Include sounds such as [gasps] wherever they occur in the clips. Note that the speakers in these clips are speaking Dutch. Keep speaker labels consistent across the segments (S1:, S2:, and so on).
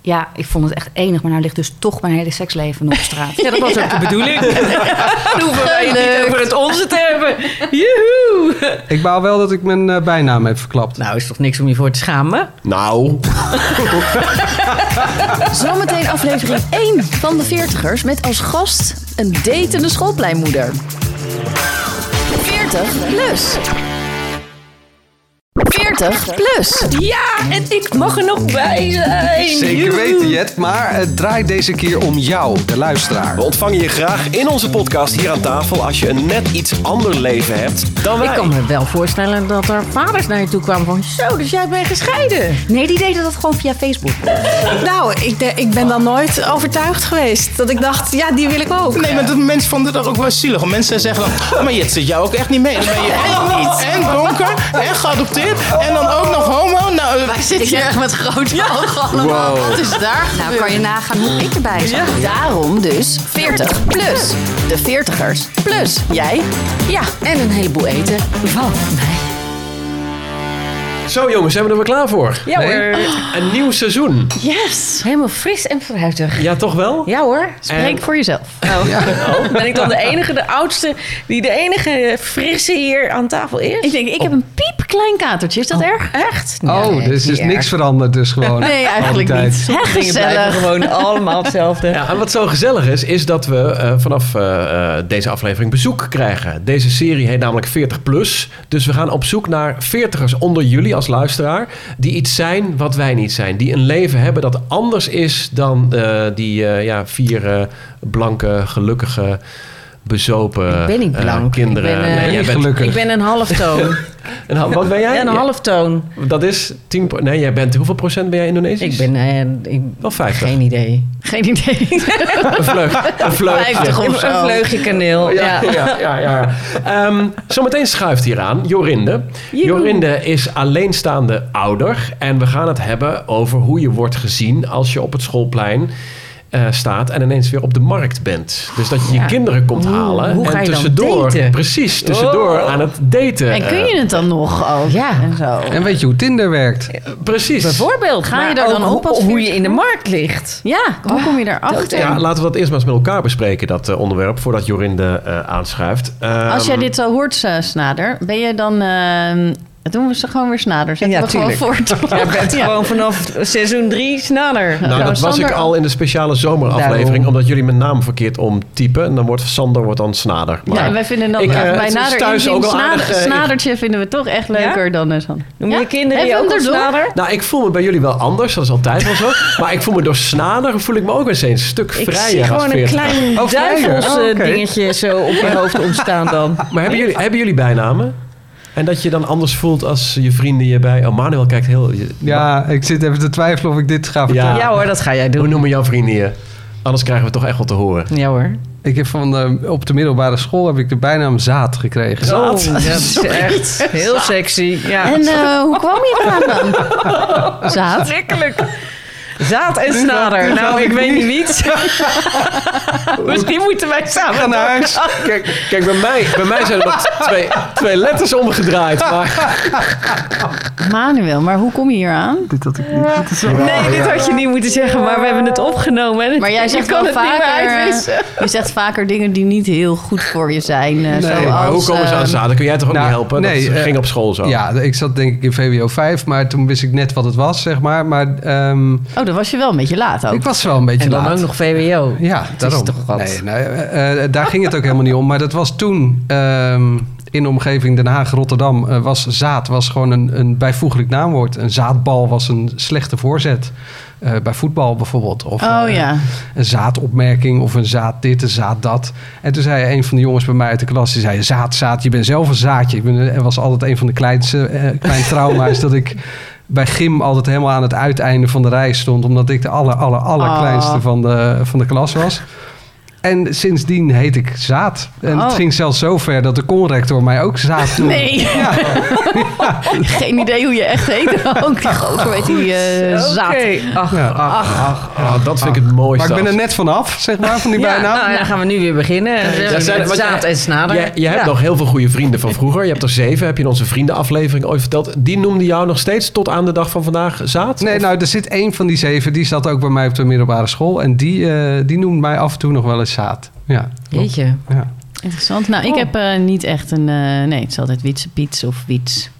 S1: Ja, ik vond het echt enig, maar nou ligt dus toch mijn hele seksleven op
S2: [laughs]
S1: straat.
S3: Ja, dat was ook de bedoeling. Dan hoeven wij het niet over het onze te hebben. [laughs] Joehoe.
S4: Ik baal wel dat ik mijn eh, bijnaam heb verklapt.
S3: Nou, is toch niks om je voor te schamen?
S5: Nou,
S2: Zometeen aflevering 1 van de 40ers met als gast een datende schoolpleinmoeder. 40 plus. 40 plus.
S3: Ja, en ik mag er nog bij zijn.
S4: Zeker
S3: Joehoe.
S4: weten, Jet, maar het draait deze keer om jou, de luisteraar.
S5: we ontvangen je graag in onze podcast hier aan tafel als je een net iets ander leven hebt dan wij.
S3: Ik kan me wel voorstellen dat er vaders naar je toe kwamen van... Zo, dus jij bent gescheiden.
S1: Nee, die deden dat gewoon via Facebook.
S6: Nou, ik, de- ik ben dan nooit overtuigd geweest. Dat ik dacht, ja, die wil ik ook.
S7: Nee, maar dat mensen vonden dat ook wel zielig. Want Mensen zeggen dan, "Oh, maar Jet zit jou ook echt niet mee. Dan ben je [laughs] en, niet. en donker, en geadopteerd, en dan ook nog homo. Nou, eh,
S6: Zit je echt met groot allemaal? Wat is daar?
S1: Nou, kan je nagaan hoe ik erbij zat.
S2: Daarom dus 40 plus. De 40ers plus jij. Ja, en een heleboel eten van mij.
S5: Zo jongens, zijn we er weer klaar voor?
S3: Ja hoor.
S5: Een nieuw seizoen.
S6: Yes.
S3: Helemaal fris en fruitig.
S5: Ja, toch wel?
S3: Ja hoor.
S2: Spreek voor jezelf.
S3: Oh. Oh, Ben ik dan de enige, de oudste, die de enige frisse hier aan tafel is?
S2: Ik denk, ik heb een piepklein katertje. Is dat erg?
S3: Echt?
S4: Oh,
S3: [laughs] Nee,
S4: dus is
S3: niet erg.
S4: niks veranderd dus gewoon.
S2: [laughs] Nee, eigenlijk
S4: Altijd.
S2: niet. Hè,
S3: Dingen blijven
S2: gezellig.
S3: [laughs] gewoon allemaal hetzelfde.
S5: Ja, en wat zo gezellig is, is dat we eh, vanaf eh, eh, deze aflevering bezoek krijgen. Deze serie heet namelijk 40 plus. Dus we gaan op zoek naar 40ers onder jullie als luisteraar. Die iets zijn wat wij niet zijn. Die een leven hebben dat anders is dan eh, die eh, ja, vier eh, blanke, gelukkige, bezopen
S3: Ik ben niet
S5: eh,
S3: blank.
S5: kinderen.
S3: Ik ben, eh,
S5: nee, jij
S4: Niet
S5: bent,
S4: gelukkig.
S3: Ik ben een halftoon.
S5: een hal- wat ben jij?
S3: een halftoon.
S5: Ja, dat is 10 pro- Nee, jij bent. Hoeveel procent ben jij Indonesisch?
S3: Ik ben... eh, ik,
S5: Wel 50.
S3: geen idee.
S2: Geen idee.
S5: Een vleug. Een vleugje.
S2: 50
S3: Een
S2: of zo.
S3: vleugje kaneel.
S5: Ja,
S3: Ja.
S5: ja, ja. ja. Ehm, zometeen schuift hier aan Jorinde. Jorinde is alleenstaande ouder. En we gaan het hebben over hoe je wordt gezien als je op het schoolplein eh, staat en ineens weer op de markt bent. Dus dat je je kinderen komt halen
S3: hoe ga
S5: en
S3: je dan
S5: tussendoor,
S3: daten?
S5: precies, tussendoor
S3: Oh.
S5: aan het daten.
S2: En kun
S5: eh,
S2: je het dan nog ook?
S3: Ja.
S2: En zo.
S4: En weet je hoe Tinder werkt?
S5: Eh, precies.
S3: Bijvoorbeeld.
S2: Ga je
S3: maar
S2: daar dan
S3: ook
S2: op
S3: hoe-
S2: als
S3: Hoe
S2: veertig?
S3: je in de markt ligt.
S2: Ja, hoe kom je daarachter?
S5: Ja, laten we dat eerst maar eens met elkaar bespreken, dat eh, onderwerp, voordat Jorinde eh, aanschuift.
S2: Als jij
S5: Ehm,
S2: dit zo hoort, eh, Snader, ben je dan... eh, doen we ze gewoon weer Snader. Zetten
S3: Ja,
S2: we gewoon voort.
S3: Jij bent
S2: Ja.
S3: gewoon vanaf seizoen drie snader.
S5: Nou,
S2: Nou,
S5: dat was
S2: Sander-
S5: ik al in de speciale zomeraflevering,
S3: Daarom.
S5: omdat jullie mijn naam verkeerd omtypen. En dan wordt Sander wordt dan Snader. Maar
S2: Ja, en wij vinden dan
S5: ik, eh,
S2: bij
S5: het is
S2: nader
S5: thuis
S2: inzien
S5: ook al
S2: snader,
S5: aardig, eh,
S2: snadertje vinden we toch echt leuker dan eh, Sander.
S3: Noem
S2: Ja?
S3: je kinderen je
S2: Even
S3: ook
S2: hem
S3: al
S2: erdoor.
S3: snader?
S5: nou, ik voel me bij jullie wel anders, dat is altijd wel zo. [laughs] maar ik voel me door Snader, voel ik me ook eens een stuk
S3: Ik
S5: vrijer.
S3: zie
S5: als
S3: gewoon een
S5: 40.
S3: klein
S4: Oh, vrijer.
S3: duivels
S4: Oh,
S3: eh,
S4: oké.
S3: dingetje zo op je hoofd ontstaan dan.
S5: Maar hebben jullie, hebben jullie bijnamen? En dat je dan anders voelt als je vrienden je bij... Oh, Manuel kijkt heel...
S4: Ja, ik zit even te twijfelen of ik dit ga vertellen.
S5: Ja.
S3: Ja hoor, dat ga jij
S5: Hoe
S3: doen.
S5: noemen jouw vrienden je? Anders krijgen we toch echt wel te horen.
S3: Ja hoor.
S4: Ik heb van de, op de middelbare school heb ik de bijnaam Zaad gekregen.
S3: Oh, dat is echt heel sexy. Ja.
S2: En
S5: [laughs]
S2: eh, hoe kwam je eraan dan? [laughs] Zaad.
S3: Schrikkelijk. Zaad en snader. Nou, ik weet niet wie. Misschien moeten wij samen.
S4: Ga naar huis.
S5: [laughs] Kijk, kijk bij, mij, bij mij zijn er nog twee, twee letters omgedraaid. Maar
S2: Manuel, maar hoe kom je hier aan?
S4: Dit had ik niet. Dit is wel-
S3: Nee, dit had je niet moeten zeggen, maar we hebben het opgenomen. en
S2: Maar jij
S3: je
S2: zegt
S3: kan
S2: wel
S3: het niet meer
S2: vaker,
S3: uitwissen.
S2: je zegt vaker dingen die niet heel goed voor je zijn. eh, zoals,
S5: maar hoe komen ze aan
S2: eh,
S5: zaden? Kun jij toch ook
S4: nou,
S5: niet helpen?
S4: nee,
S5: dat
S4: eh,
S5: ging op school zo.
S4: Ja, ik zat denk ik in VWO 5, maar toen wist ik net wat het was, zeg maar. Maar ehm,
S2: Oh, dan was je wel een beetje laat ook.
S4: ik was wel een beetje
S3: En dan
S4: laat.
S3: ook nog VWO.
S4: Ja,
S3: is
S4: daarom.
S3: toch wat.
S4: Nee, nee, eh, eh, daar ging het ook helemaal niet om. Maar dat was toen ehm, in de omgeving Den Haag, Rotterdam, eh, was zaad was gewoon een, een bijvoeglijk naamwoord. Een zaadbal was een slechte voorzet. Eh, bij voetbal bijvoorbeeld. Of,
S2: Oh
S4: eh,
S2: ja.
S4: Een zaadopmerking of een zaad dit, een zaad dat. En toen zei een van de jongens bij mij uit de klas, die zei zaad, zaad, je bent zelf een zaadje. Ik ben, er was altijd een van de kleinste eh klein
S3: [laughs]
S4: trauma's dat ik bij gym altijd helemaal aan het uiteinde van de rij stond. Omdat ik de aller, aller, allerkleinste
S2: Ah.
S4: van, de, van de klas was. En sindsdien heet ik Zaad. En het
S3: Oh.
S4: ging zelfs zo ver dat de conrector mij
S3: [laughs]
S4: ook Zaad noemde.
S8: Nee.
S2: [laughs]
S5: [laughs]
S8: Geen idee hoe je echt heet. Ook die gozer weet die eh, zaad.
S3: Ach,
S4: Ja.
S5: Ah, dat vind ik het
S4: Maar
S5: mooiste.
S4: ik ben er
S5: als-
S4: net vanaf, zeg maar, van die
S3: Ja,
S4: bijnaam.
S3: nou, dan gaan we nu weer beginnen.
S5: Ja, zijn-
S3: Met
S5: want jij-
S3: zaad en snader.
S5: jij- jij hebt
S3: Ja.
S5: nog heel veel goede vrienden van vroeger. Je hebt er zeven, heb je in onze vriendenaflevering ooit verteld. Die noemde jou nog steeds tot aan de dag van vandaag zaad?
S4: Nee,
S5: Of-
S4: nou, er zit één van die zeven, die zat ook bij mij op de middelbare school. En die, eh, die noemt mij af en toe nog wel eens Zaad. Ja, klopt.
S3: Jeetje.
S4: Ja.
S2: Interessant. Nou, ik
S3: Oh.
S2: heb eh, niet echt een... eh, nee, het is altijd Wietse Piets of Wiets.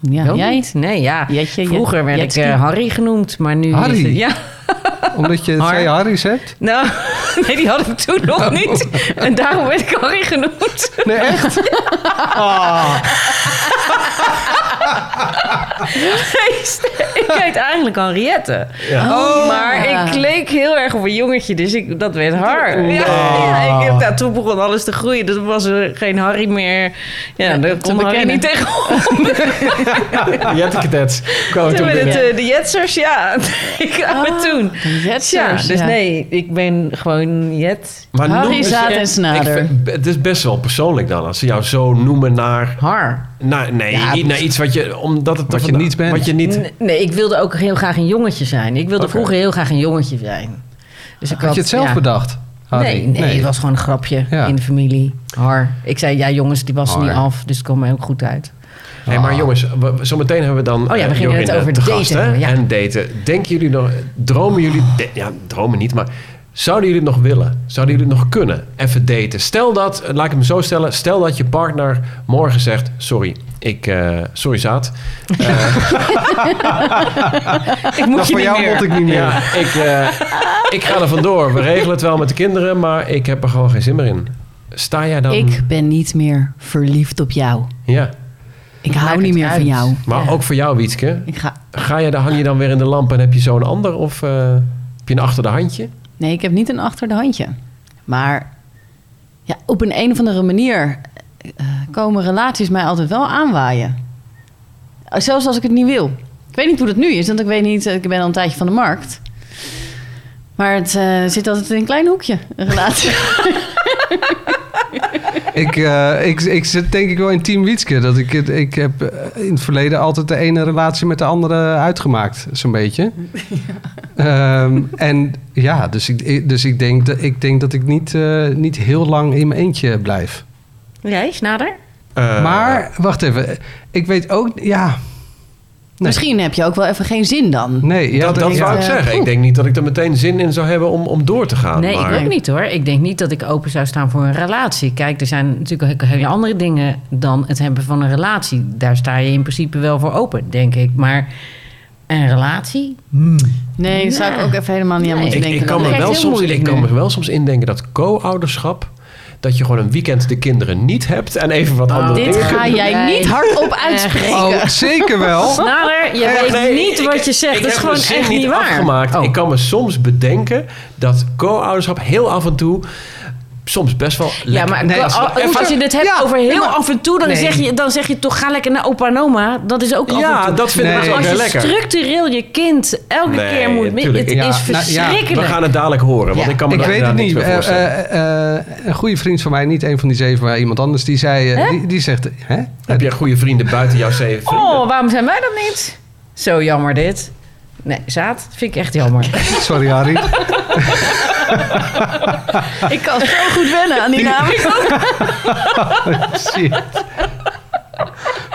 S2: Ja,
S3: Wel
S2: jij?
S3: niet? Nee, ja.
S2: Jetje, je-
S3: Vroeger werd ik
S2: Jetski.
S3: eh, Harry genoemd, maar nu... is
S4: Harry?
S3: het- ja.
S4: Omdat je
S3: Har.
S4: twee Harry's hebt?
S3: Nou, [laughs] nee, die had ik toen nog niet. En daarom werd ik Harry genoemd.
S4: Nee, echt?
S3: ik heet eigenlijk Henriette.
S4: Oh.
S3: maar ik leek heel erg op een jongetje, dus ik, dat werd haar. Ja,
S4: Ah.
S3: ja, ik heb, ja, toen begon alles te groeien. Dus was er geen Harry meer. Ja, daar kon Harry
S2: bekennen.
S3: niet tegen.
S4: Oh,
S5: Jetteketets. Kwamen
S3: Toen
S5: toen
S3: met
S5: binnen.
S3: het, eh, de Jetsers, ja. [laughs] ik kwam het toen.
S2: Jetsers,
S3: Ah. Ja, dus
S2: ja.
S3: nee, ik ben gewoon Jet.
S5: Maar
S2: Harry
S5: noemen ze-
S2: Zaad en Snader.
S5: Ik vind- het is best wel persoonlijk dan, als ze jou zo noemen naar...
S3: Har.
S5: naar nee, i- naar iets wat je... Omdat het
S4: Wat je
S5: vanda-
S4: niet bent.
S5: Wat je niet...
S3: Nee, ik wilde ook heel graag een jongetje zijn. Ik wilde
S5: Oké.
S3: vroeger heel graag een jongetje zijn. Dus ik
S4: Had je het zelf
S3: ja.
S4: bedacht? Harry?
S3: Nee, nee, het was gewoon een grapje
S4: Ja. Oh,
S3: in de familie. Har. Ik zei, ja jongens, die was er niet
S4: Har.
S3: af. Dus het kwam mij ook goed uit.
S5: Hey, maar jongens, we- zometeen hebben we dan.
S3: Ah. Oh ja, we
S5: eh,
S3: gingen het
S5: Jorinde
S3: over
S5: te
S3: daten
S5: gast,
S3: hebben,
S5: hè?
S3: ja.
S5: En daten. Denken jullie nog. Dromen jullie. de- ja, dromen niet, maar. Zouden jullie het nog willen? Zouden jullie het nog kunnen? Even daten. Stel dat, eh, laat ik hem zo stellen. Stel dat je partner morgen zegt: Sorry, ik. eh, sorry, zaad.
S3: Ik moet
S4: Nou, voor jou moet ik niet meer.
S5: Ja, ik,
S3: [laughs]
S5: eh, ik ga er vandoor. We regelen het wel met de kinderen, maar ik heb er gewoon geen zin meer in. Sta jij dan?
S2: Ik ben niet meer verliefd op jou.
S5: Ja,
S2: Ik
S3: Maakt
S2: hou niet
S3: het
S2: meer
S3: uit.
S2: van jou.
S5: maar ook voor jou, Wietske.
S2: Ik ga...
S5: Ga je, dan hang je dan weer in de lamp en heb je zo'n ander? Of eh, heb je een achter de handje?
S2: Nee, ik heb niet een achter de handje. Maar ja, op een, een of andere manier eh, komen relaties mij altijd wel aanwaaien. Eh, Zelfs als ik het niet wil. Ik weet niet hoe dat nu is, want ik weet niet, eh, ik ben al een tijdje van de markt. Maar het eh, zit altijd in een klein hoekje, een
S4: [laughs]
S2: relatie.
S4: Ik, eh, ik, ik zit denk ik wel in Team Wietske. Dat ik, het- ik heb eh, in het verleden altijd de ene relatie met de andere uitgemaakt. Zo'n beetje. Ehm, en ja, dus, ik, ik- dus ik, denk, dat- ik denk dat ik niet, eh, niet heel lang in mijn eentje blijf.
S3: Jij, Snader?
S5: Eh,
S4: maar wacht even. Ik weet ook... Ja, Nee.
S2: Misschien heb je ook wel even geen zin dan.
S4: nee. Ja,
S5: dat, dat
S4: ja.
S5: wou ik zeggen. Ik denk niet dat ik er meteen zin in zou hebben om, om door te gaan.
S3: Nee,
S5: maar...
S3: ik ook niet hoor. Ik denk niet dat ik open zou staan voor een relatie. Kijk, er zijn natuurlijk ook hele andere dingen dan het hebben van een relatie. Daar sta je in principe wel voor open, denk ik. Maar een relatie?
S2: Nee, daar zou ik ook even helemaal niet aan
S3: Nee.
S2: moeten
S5: Ik,
S2: denken.
S5: ik
S2: dan.
S5: kan, me
S3: lijkt
S5: wel
S3: heel
S5: soms,
S3: moeilijk
S5: ik kan
S3: nu.
S5: me wel soms indenken dat co-ouderschap... dat je gewoon een weekend de kinderen niet hebt... en even wat
S3: Oh,
S5: andere
S2: Dit
S5: dingen
S2: ga
S5: kunt doen.
S2: jij
S3: Nee.
S2: niet hardop uitspreken.
S4: Oh, zeker wel.
S3: Snader, je
S5: Nee,
S3: weet
S5: Eh, nee,
S3: niet
S5: ik-
S3: wat je zegt.
S5: ik
S3: Dat is
S5: heb
S3: gewoon
S5: mijn zin
S3: echt niet waar.
S5: Afgemaakt.
S3: Oh.
S5: Ik kan me soms bedenken dat co-ouderschap heel af en toe... soms best wel lekker...
S3: Ja, maar
S4: Nee,
S3: ko-
S4: als-
S3: al-
S5: even-
S3: als je het hebt
S4: Ja,
S3: over heel
S4: nee, maar-
S3: af en toe, dan,
S4: Nee.
S3: zeg je, dan zeg je toch ga lekker naar opa en oma. Dat is ook af en
S5: ja
S3: toe.
S5: dat vind ik
S4: Nee,
S3: Maar
S5: ik ook
S3: als
S5: wel
S3: je
S5: lekker.
S3: structureel je kind elke
S5: Nee,
S3: keer moet...
S5: tuurlijk.
S3: Het
S4: Ja,
S3: is
S4: nou, ja.
S3: verschrikkelijk.
S5: We gaan het dadelijk horen, want
S3: Ja.
S5: ik [laughs] kan me
S4: Ik
S5: daar
S4: weet het
S5: inderdaad
S4: niet.
S5: niks meer voorstellen.
S4: Eh, eh, eh, een goede vriend van mij, niet een van die zeven, maar iemand anders, die zei, eh, die, die zegt, hè?
S5: Heb jij goede vrienden buiten jouw zeven vrienden?
S3: Oh, waarom zijn wij dat niet? Zo jammer dit. Nee, zaad vind ik echt jammer.
S4: Sorry, Harry.
S5: [laughs]
S2: Ik kan zo goed
S1: [laughs]
S2: wennen aan die naam.
S4: Shit.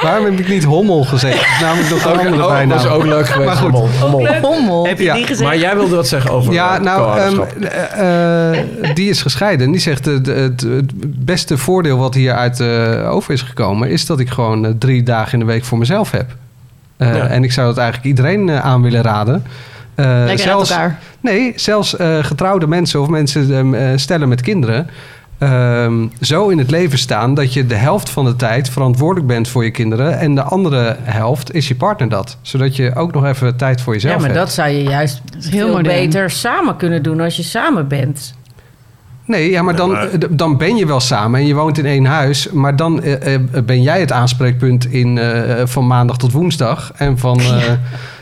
S4: Waarom heb ik niet hommel gezegd? Dat is namelijk nog een andere
S5: oh,
S4: bijnaam.
S5: dat is ook leuk geweest.
S4: Maar goed.
S5: Mol, mol.
S2: Hommel.
S3: Heb je
S4: Ja,
S3: die gezegd?
S5: Maar jij wilde wat zeggen over
S4: Ja,
S5: eh,
S4: nou,
S5: co-ouderschap.
S4: ehm, eh, eh, die is gescheiden. En die zegt, eh, de- het, het beste voordeel wat hieruit eh over is gekomen... is dat ik gewoon eh, drie dagen in de week voor mezelf heb. Eh,
S5: Ja.
S4: En ik zou dat eigenlijk iedereen eh, aan willen raden. Eh,
S2: Lekker uit
S4: zelfs,
S2: elkaar.
S4: Nee, zelfs eh, getrouwde mensen of mensen ehm, eh, stellen met kinderen... ehm, zo in het leven staan dat je de helft van de tijd verantwoordelijk bent voor je kinderen... en de andere helft is je partner dat. Zodat je ook nog even tijd voor jezelf
S3: ja, maar
S4: hebt.
S3: dat zou je juist
S2: heel
S3: veel
S2: modern.
S3: beter samen kunnen doen als je samen bent.
S4: Nee, ja, maar dan, eh, d- dan ben je wel samen en je woont in één huis. Maar dan eh, eh, ben jij het aanspreekpunt in, eh, eh, van maandag tot woensdag. En van eh,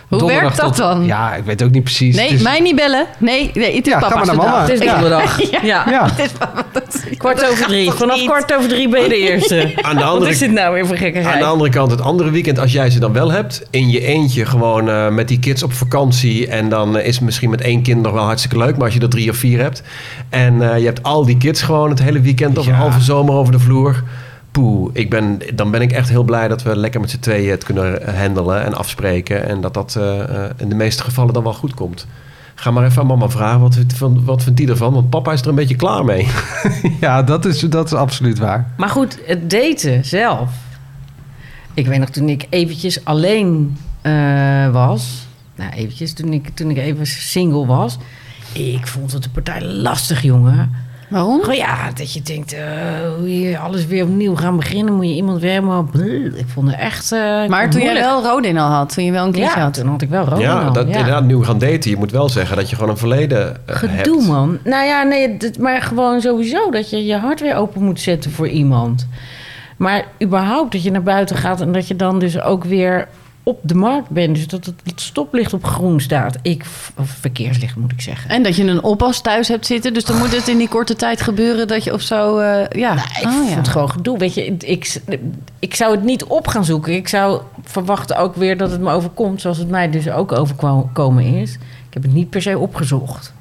S2: Hoe
S4: donderdag
S2: werkt dat
S4: tot-
S2: dan?
S4: Ja, ik weet ook niet precies.
S2: Nee,
S4: Het is-
S2: mij niet bellen. Nee, nee het is
S4: Ja, ga
S2: papa's
S4: maar naar
S2: dag.
S4: mama.
S3: Het is
S4: Ja.
S3: donderdag. [laughs] Ja.
S4: Ja,
S3: Kwart over drie. Vanaf kwart over drie ben je de eerste.
S5: Aan de
S3: [laughs] Wat
S5: andere
S3: is dit nou weer voor gekkigheid?
S5: Aan de andere kant, het andere weekend, als jij ze dan wel hebt, in je eentje gewoon eh, met die kids op vakantie. En dan eh, is het misschien met één kind nog wel hartstikke leuk, maar als je er drie of vier hebt. En eh, je hebt al die kids gewoon het hele weekend of een halve zomer over de vloer. Poeh, ik ben, dan ben ik echt heel blij dat we lekker met z'n tweeën het kunnen eh, handelen en afspreken. En dat dat eh, eh, in de meeste gevallen dan wel goed komt. Ga maar even aan mama vragen, wat, vindt- van- wat vindt die ervan? Want papa is er een beetje klaar mee.
S4: ja dat, is, dat is absoluut waar.
S3: Maar goed, het daten zelf. Ik weet nog toen ik eventjes alleen eh, was. Nou, eventjes. Toen ik, toen ik even single was. Ik vond het een partij lastig, jongen.
S2: Waarom?
S3: Gewoon Oh ja, dat je denkt, eh, hoe je alles weer opnieuw gaan beginnen. Moet je iemand weer helemaal... brrr. Ik vond het echt eh,
S2: Maar toen jij
S3: moeilijk.
S2: wel Rodin al had, toen je wel een kindje
S3: Ja,
S2: had.
S3: toen had ik wel Roman
S5: ja,
S3: al,
S5: dat,
S3: Oh, nou, ja.
S5: inderdaad, nu we gaan daten, je moet wel zeggen dat je gewoon een verleden eh, hebt.
S3: Gedoe, man. Nou ja, nee, dit- maar gewoon sowieso dat je je hart weer open moet zetten voor iemand. Maar überhaupt dat je naar buiten gaat en dat je dan dus ook weer op de markt bent. Dus dat het stoplicht op groen staat. Ik, of verkeerslicht moet ik zeggen.
S2: En dat je een oppas thuis hebt zitten. Dus dan moet het in die korte tijd gebeuren dat je of zo... eh, ja.
S3: Ik
S2: Oh,
S3: vond
S2: ja.
S3: het gewoon gedoe. Weet je, ik, ik zou het niet op gaan zoeken. Ik zou verwachten ook weer dat het me overkomt, zoals het mij dus ook overkomen is. Ik heb het niet per se opgezocht.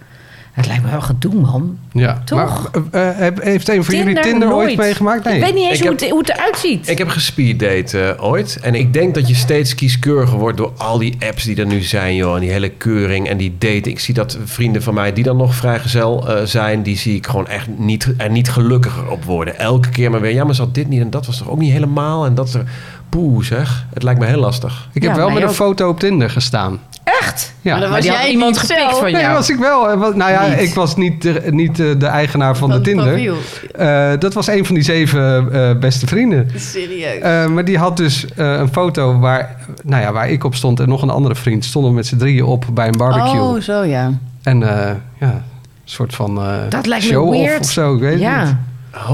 S3: Het lijkt me wel gedoe, man.
S4: Ja.
S3: Toch?
S4: Maar, eh, eh, heb- heeft een van jullie Tinder
S3: nooit.
S4: ooit meegemaakt? Nee.
S3: Ik weet niet eens
S5: Ik
S3: hoe,
S5: heb-
S3: het, hoe het eruit ziet.
S5: Ik heb gespeeddate eh, ooit. En ik denk dat je steeds kieskeuriger wordt door al die apps die er nu zijn, joh. En die hele keuring en die date. Ik zie dat vrienden van mij die dan nog vrijgezel eh, zijn, die zie ik gewoon echt niet, er niet gelukkiger op worden. Elke keer maar weer, ja, maar zat dit niet en dat was toch ook niet helemaal. En dat is er, poeh zeg, het lijkt me heel lastig.
S4: Ik heb
S3: Ja,
S4: wel
S3: mij
S4: met een
S3: ook.
S4: foto op Tinder gestaan.
S3: Echt?
S4: Ja.
S2: Maar dan was
S3: die had
S2: jij
S3: iemand
S2: niet
S3: gepikt
S2: zelf.
S3: van
S4: Nee,
S3: jou.
S4: was ik wel. Eh, wa- Nou ja,
S3: Niet.
S4: ik was niet, de, niet eh, de eigenaar
S2: Van
S4: van, de
S2: het
S4: Tinder.
S2: profiel.
S4: Eh, dat was een van die zeven eh, beste vrienden.
S2: Serieus.
S4: Eh, maar die had dus eh, een foto waar, nou ja, waar ik op stond en nog een andere vriend. Stonden we met z'n drieën op bij een barbecue.
S2: Oh, zo [laughs] ja.
S4: En eh, ja, een soort van eh,
S3: Dat lijkt me
S4: show off
S3: weird.
S4: of zo. Ik weet het
S3: Ja.
S4: niet.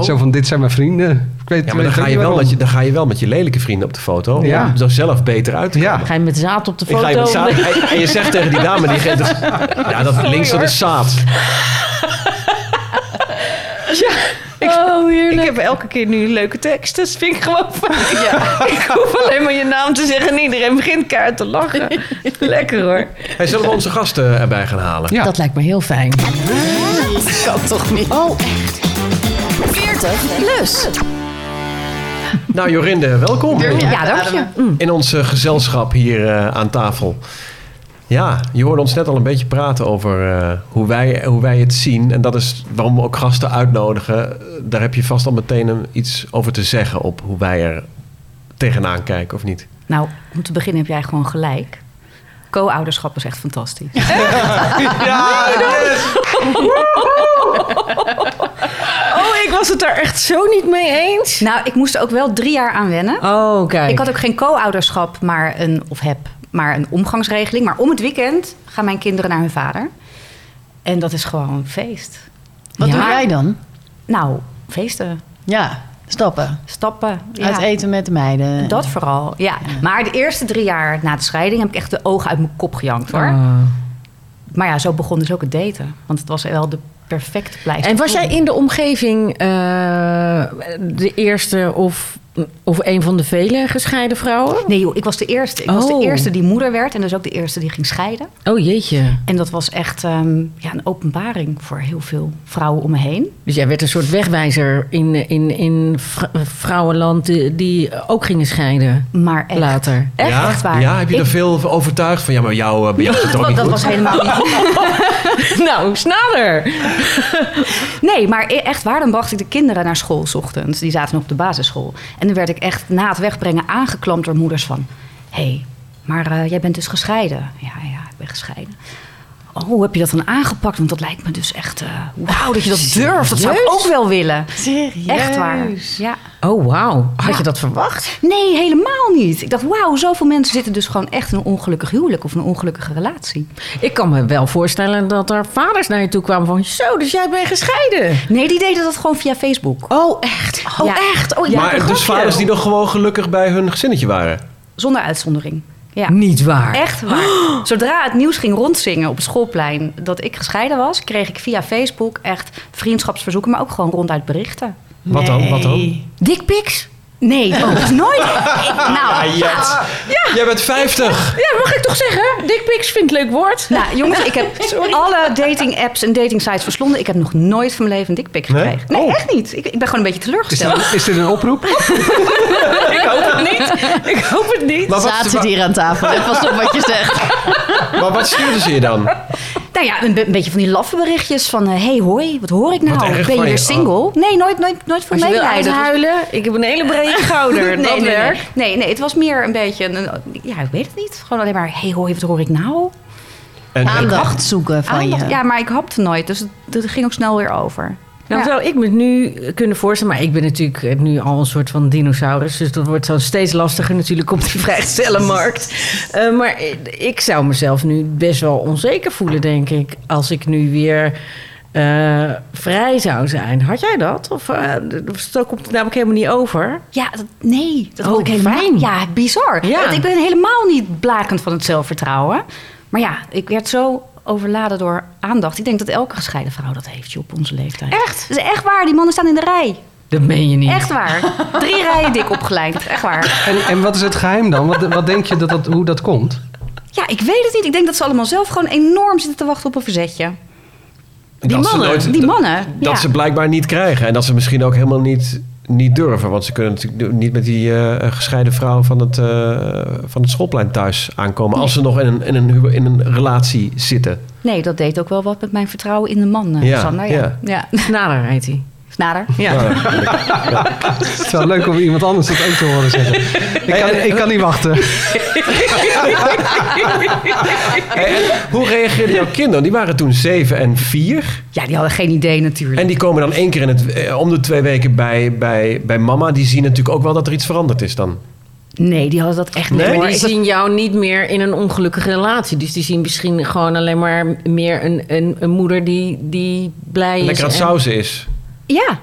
S4: Zo van, dit zijn mijn vrienden. Ik weet,
S5: Oh. Ja, maar dan
S4: weet
S5: ga,
S4: ook
S5: je
S4: niet
S5: wel
S4: waarom.
S5: met je, dan ga je wel met je lelijke vrienden op de foto.
S4: Ja.
S5: Om er zelf beter uit te
S4: Ja.
S5: komen.
S3: Ga je met zaad op de
S5: Ik
S3: foto?
S5: ga je met
S3: [laughs]
S5: zaad, en- en je zegt tegen die dame, die geeft het- ja, dat links dat is zaad.
S3: Oh, heerlijk. Ik heb elke keer nu leuke teksten. Dat vind ik gewoon [laughs] fijn. Ik hoef alleen maar je naam te zeggen en iedereen begint kaart te [laughs] lachen. Lekker hoor.
S5: Hey, zullen we onze gasten erbij gaan halen?
S4: Ja.
S3: Dat lijkt me heel fijn.
S9: Oh, echt. 40 plus.
S5: Nou, Jorinde, welkom
S3: Ja, dank je.
S5: in ons eh, gezelschap hier eh, aan tafel. Ja, je hoorde ons net al een beetje praten over eh, hoe, wij, hoe wij het zien. En dat is waarom we ook gasten uitnodigen. Daar heb je vast al meteen een- iets over te zeggen op hoe wij er tegenaan kijken, of niet?
S1: Nou, om te beginnen heb jij gewoon gelijk. Co-ouderschap is echt fantastisch.
S3: Oh, ik was het daar echt zo niet mee eens.
S1: nou, ik moest er ook wel drie jaar aan wennen.
S3: Oh, kijk.
S1: Ik had ook geen co-ouderschap, maar een, of heb, maar een omgangsregeling. Maar om het weekend gaan mijn kinderen naar hun vader. En dat is gewoon een feest.
S2: Wat
S1: Ja.
S2: doe jij dan?
S1: Nou, feesten,
S2: Ja, stappen.
S1: stappen. ja.
S2: Uit eten met de meiden.
S1: Dat vooral, ja. Maar de eerste drie jaar na de scheiding heb ik echt de ogen uit mijn kop gejankt hoor.
S5: Ah.
S3: Ah.
S1: Maar ja, zo begon dus ook het daten. Want het was wel de perfecte pleister.
S3: En was jij
S1: voor.
S3: in de omgeving eh, de eerste of, of een van de vele gescheiden vrouwen?
S1: Nee joh, ik was de eerste. Ik was
S3: Oh.
S1: de eerste die moeder werd en dus ook de eerste die ging scheiden.
S3: Oh jeetje.
S1: En dat was echt ehm, ja, een openbaring voor heel veel vrouwen om me heen.
S3: Dus jij werd een soort wegwijzer in, in, in vrou- vrouwenland die, die ook gingen scheiden
S1: Maar echt,
S3: later. [laughs]
S1: echt,
S5: ja?
S1: echt waar.
S5: Ja, heb je
S1: Ik-
S5: er veel van overtuigd van? Ja, maar jou, eh, bij jou gaat het ook
S1: dat,
S5: niet
S1: dat
S5: goed.
S1: was helemaal niet.
S3: nou, sneller.
S1: Nee, maar e- echt waar, dan bracht ik de kinderen naar school 's ochtends. Die zaten nog op de basisschool. En dan werd ik echt na het wegbrengen aangeklampt door moeders van... Hé, hey, maar eh, jij bent dus gescheiden. Ja, ja, ik ben gescheiden. Oh, hoe heb je dat dan aangepakt? Want dat lijkt me dus echt... eh, Wauw, dat je dat durft. Dat zou ik ook wel willen.
S2: Serieus?
S1: Echt waar. Ja.
S3: Oh, wauw. Had
S1: Ja.
S3: je dat verwacht?
S1: Nee, helemaal niet. Ik dacht, wauw, zoveel mensen zitten dus gewoon echt in een ongelukkig huwelijk of een ongelukkige relatie.
S3: Ik kan me wel voorstellen dat er vaders naar je toe kwamen van... Zo, dus jij bent gescheiden.
S1: Nee, die deden dat gewoon via Facebook.
S3: Oh, echt?
S1: Ja.
S3: echt? Oh, ik maak
S5: maar
S3: een
S5: dus
S3: grapje.
S5: vaders die nog gewoon gelukkig bij hun gezinnetje waren.
S1: Zonder uitzondering. Ja.
S3: Niet waar.
S1: Echt waar. [gasps] Zodra het nieuws ging rondzingen op het schoolplein dat ik gescheiden was, kreeg ik via Facebook echt vriendschapsverzoeken, maar ook gewoon ronduit berichten.
S5: Wat dan? Wat dan?
S1: Dickpics? Nee, dat
S10: [laughs]
S1: is nooit. Ik- nou,
S5: Jet. Jij bent 50.
S10: Ja, mag ik toch zeggen? Dickpics vind ik leuk woord.
S1: nou, jongens, ik
S10: [laughs]
S1: heb alle dating apps en dating sites verslonden. Ik heb nog nooit van mijn leven een dickpic
S5: Nee?
S1: gekregen. Nee,
S10: Oh.
S1: echt niet. Ik, ik ben gewoon een beetje
S4: Is
S1: teleurgesteld.
S4: dit, is dit een oproep?
S10: Ik hoop
S1: [laughs]
S10: het niet. Ik hoop het niet.
S5: Maar
S2: Zaten
S5: wat,
S2: ze hier aan [laughs] tafel. Let pas op wat je zegt.
S5: maar wat stuurden ze je dan?
S1: Nou ja, een, be- een beetje van die laffe berichtjes van... eh, hey, hoi, wat hoor ik nou?
S5: Wat erg
S1: ben je
S5: van je.
S1: weer single?
S10: Oh.
S1: Nee, nooit, nooit, nooit voor
S10: Als je wil
S1: medelijden. Het was-
S10: uithuilen, ik heb een hele brede schouder.
S1: [laughs] nee,
S10: dat
S1: nee,
S10: werkt.
S1: nee. nee, nee, het was meer een beetje... Een, een- ja, ik weet het niet. Gewoon alleen maar... hey, hoi, wat hoor ik nou?
S5: En,
S2: Aandacht zoeken van
S1: Aandacht.
S2: je.
S1: Ja, maar ik hapte nooit. Dus het, het ging ook snel weer over.
S3: Nou
S1: Ja.
S3: zou ik me nu kunnen voorstellen, maar ik ben natuurlijk eh, nu al een soort van dinosaurus. Dus dat wordt zo steeds lastiger natuurlijk op de vrijgezellenmarkt. Eh, maar eh, ik zou mezelf nu best wel onzeker voelen, denk ik. Als ik nu weer eh, vrij zou zijn. Had jij dat? Of eh, d- dat komt het namelijk helemaal niet over?
S1: Ja, dat, nee. Dat
S3: Oh,
S1: had ik helemaal...
S3: fijn.
S1: Ja, bizar.
S3: Ja.
S1: Want ik ben helemaal niet blakend van het zelfvertrouwen. Maar ja, ik werd zo overladen door aandacht. Ik denk dat elke gescheiden vrouw dat heeft, joh, op onze leeftijd. Echt? Dat is echt waar. Die mannen staan in de rij.
S3: Dat meen je niet.
S1: Echt waar. Drie rijen dik opgelijnd. Echt
S4: [laughs]
S1: waar.
S4: En, en wat is het geheim dan? Wat, wat denk je dat dat, hoe dat komt?
S1: Ja, ik weet het niet. Ik denk dat ze allemaal zelf gewoon enorm zitten te wachten op een verzetje.
S5: dat ze
S3: mannen,
S5: nooit-
S1: Die
S5: dat-
S1: mannen.
S5: Dat
S1: ja.
S5: ze blijkbaar niet krijgen. En dat ze misschien ook helemaal niet, niet durven. Want ze kunnen natuurlijk niet met die eh, gescheiden vrouw van het, eh, van het schoolplein thuis aankomen. Als ze nog in een, in een, huwe- in een relatie zitten.
S1: Nee, dat deed ook wel wat met mijn vertrouwen in de man, eh,
S5: Ja,
S1: Sander.
S5: ja.
S1: Ja. ja. [laughs]
S3: Snader heet hij.
S1: Snader. [laughs]
S4: Het is wel leuk om iemand anders dat ook te horen zeggen. Ik kan,
S5: eh,
S4: ik kan niet wachten.
S5: Hey, en hoe reageerden jouw kinderen? Die waren toen 7 en 4.
S1: Ja, die hadden geen idee natuurlijk.
S5: En die komen dan één keer in het, eh, om de twee weken bij, bij, bij mama. Die zien natuurlijk ook wel dat er iets veranderd is dan.
S1: Nee, die hadden dat echt
S5: Nee?
S1: niet.
S3: Maar
S1: hoor.
S3: die
S1: Ik-
S3: zien jou niet meer in een ongelukkige relatie. Dus die zien misschien gewoon alleen maar meer een, een, een moeder die, die blij is.
S5: Lekker aan het
S3: en-
S5: sausen is.
S1: Ja.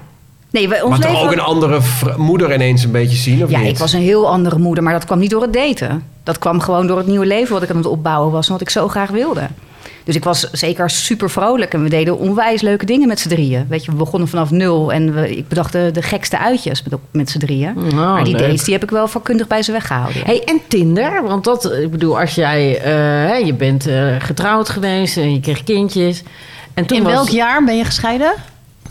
S1: Nee, wij, ons
S5: maar
S1: leven
S5: toch ook
S1: was-
S5: een andere vr- moeder ineens een beetje zien, of
S1: Ja,
S5: niet?
S1: ik was een heel andere moeder, maar dat kwam niet door het daten. Dat kwam gewoon door het nieuwe leven wat ik aan het opbouwen was en wat ik zo graag wilde. Dus ik was zeker super vrolijk en we deden onwijs leuke dingen met z'n drieën. Weet je, we begonnen vanaf nul en we, ik bedacht de, de gekste uitjes met, met z'n drieën.
S5: Oh,
S3: Nou,
S1: maar die
S3: leuk.
S1: dates die heb ik wel vakkundig bij ze weggehouden. ja.
S3: Hey, en Tinder? Want dat, ik bedoel, als jij, eh, hè, je bent eh, getrouwd geweest en je kreeg kindjes. En toen
S2: In
S3: was,
S2: welk jaar ben je gescheiden?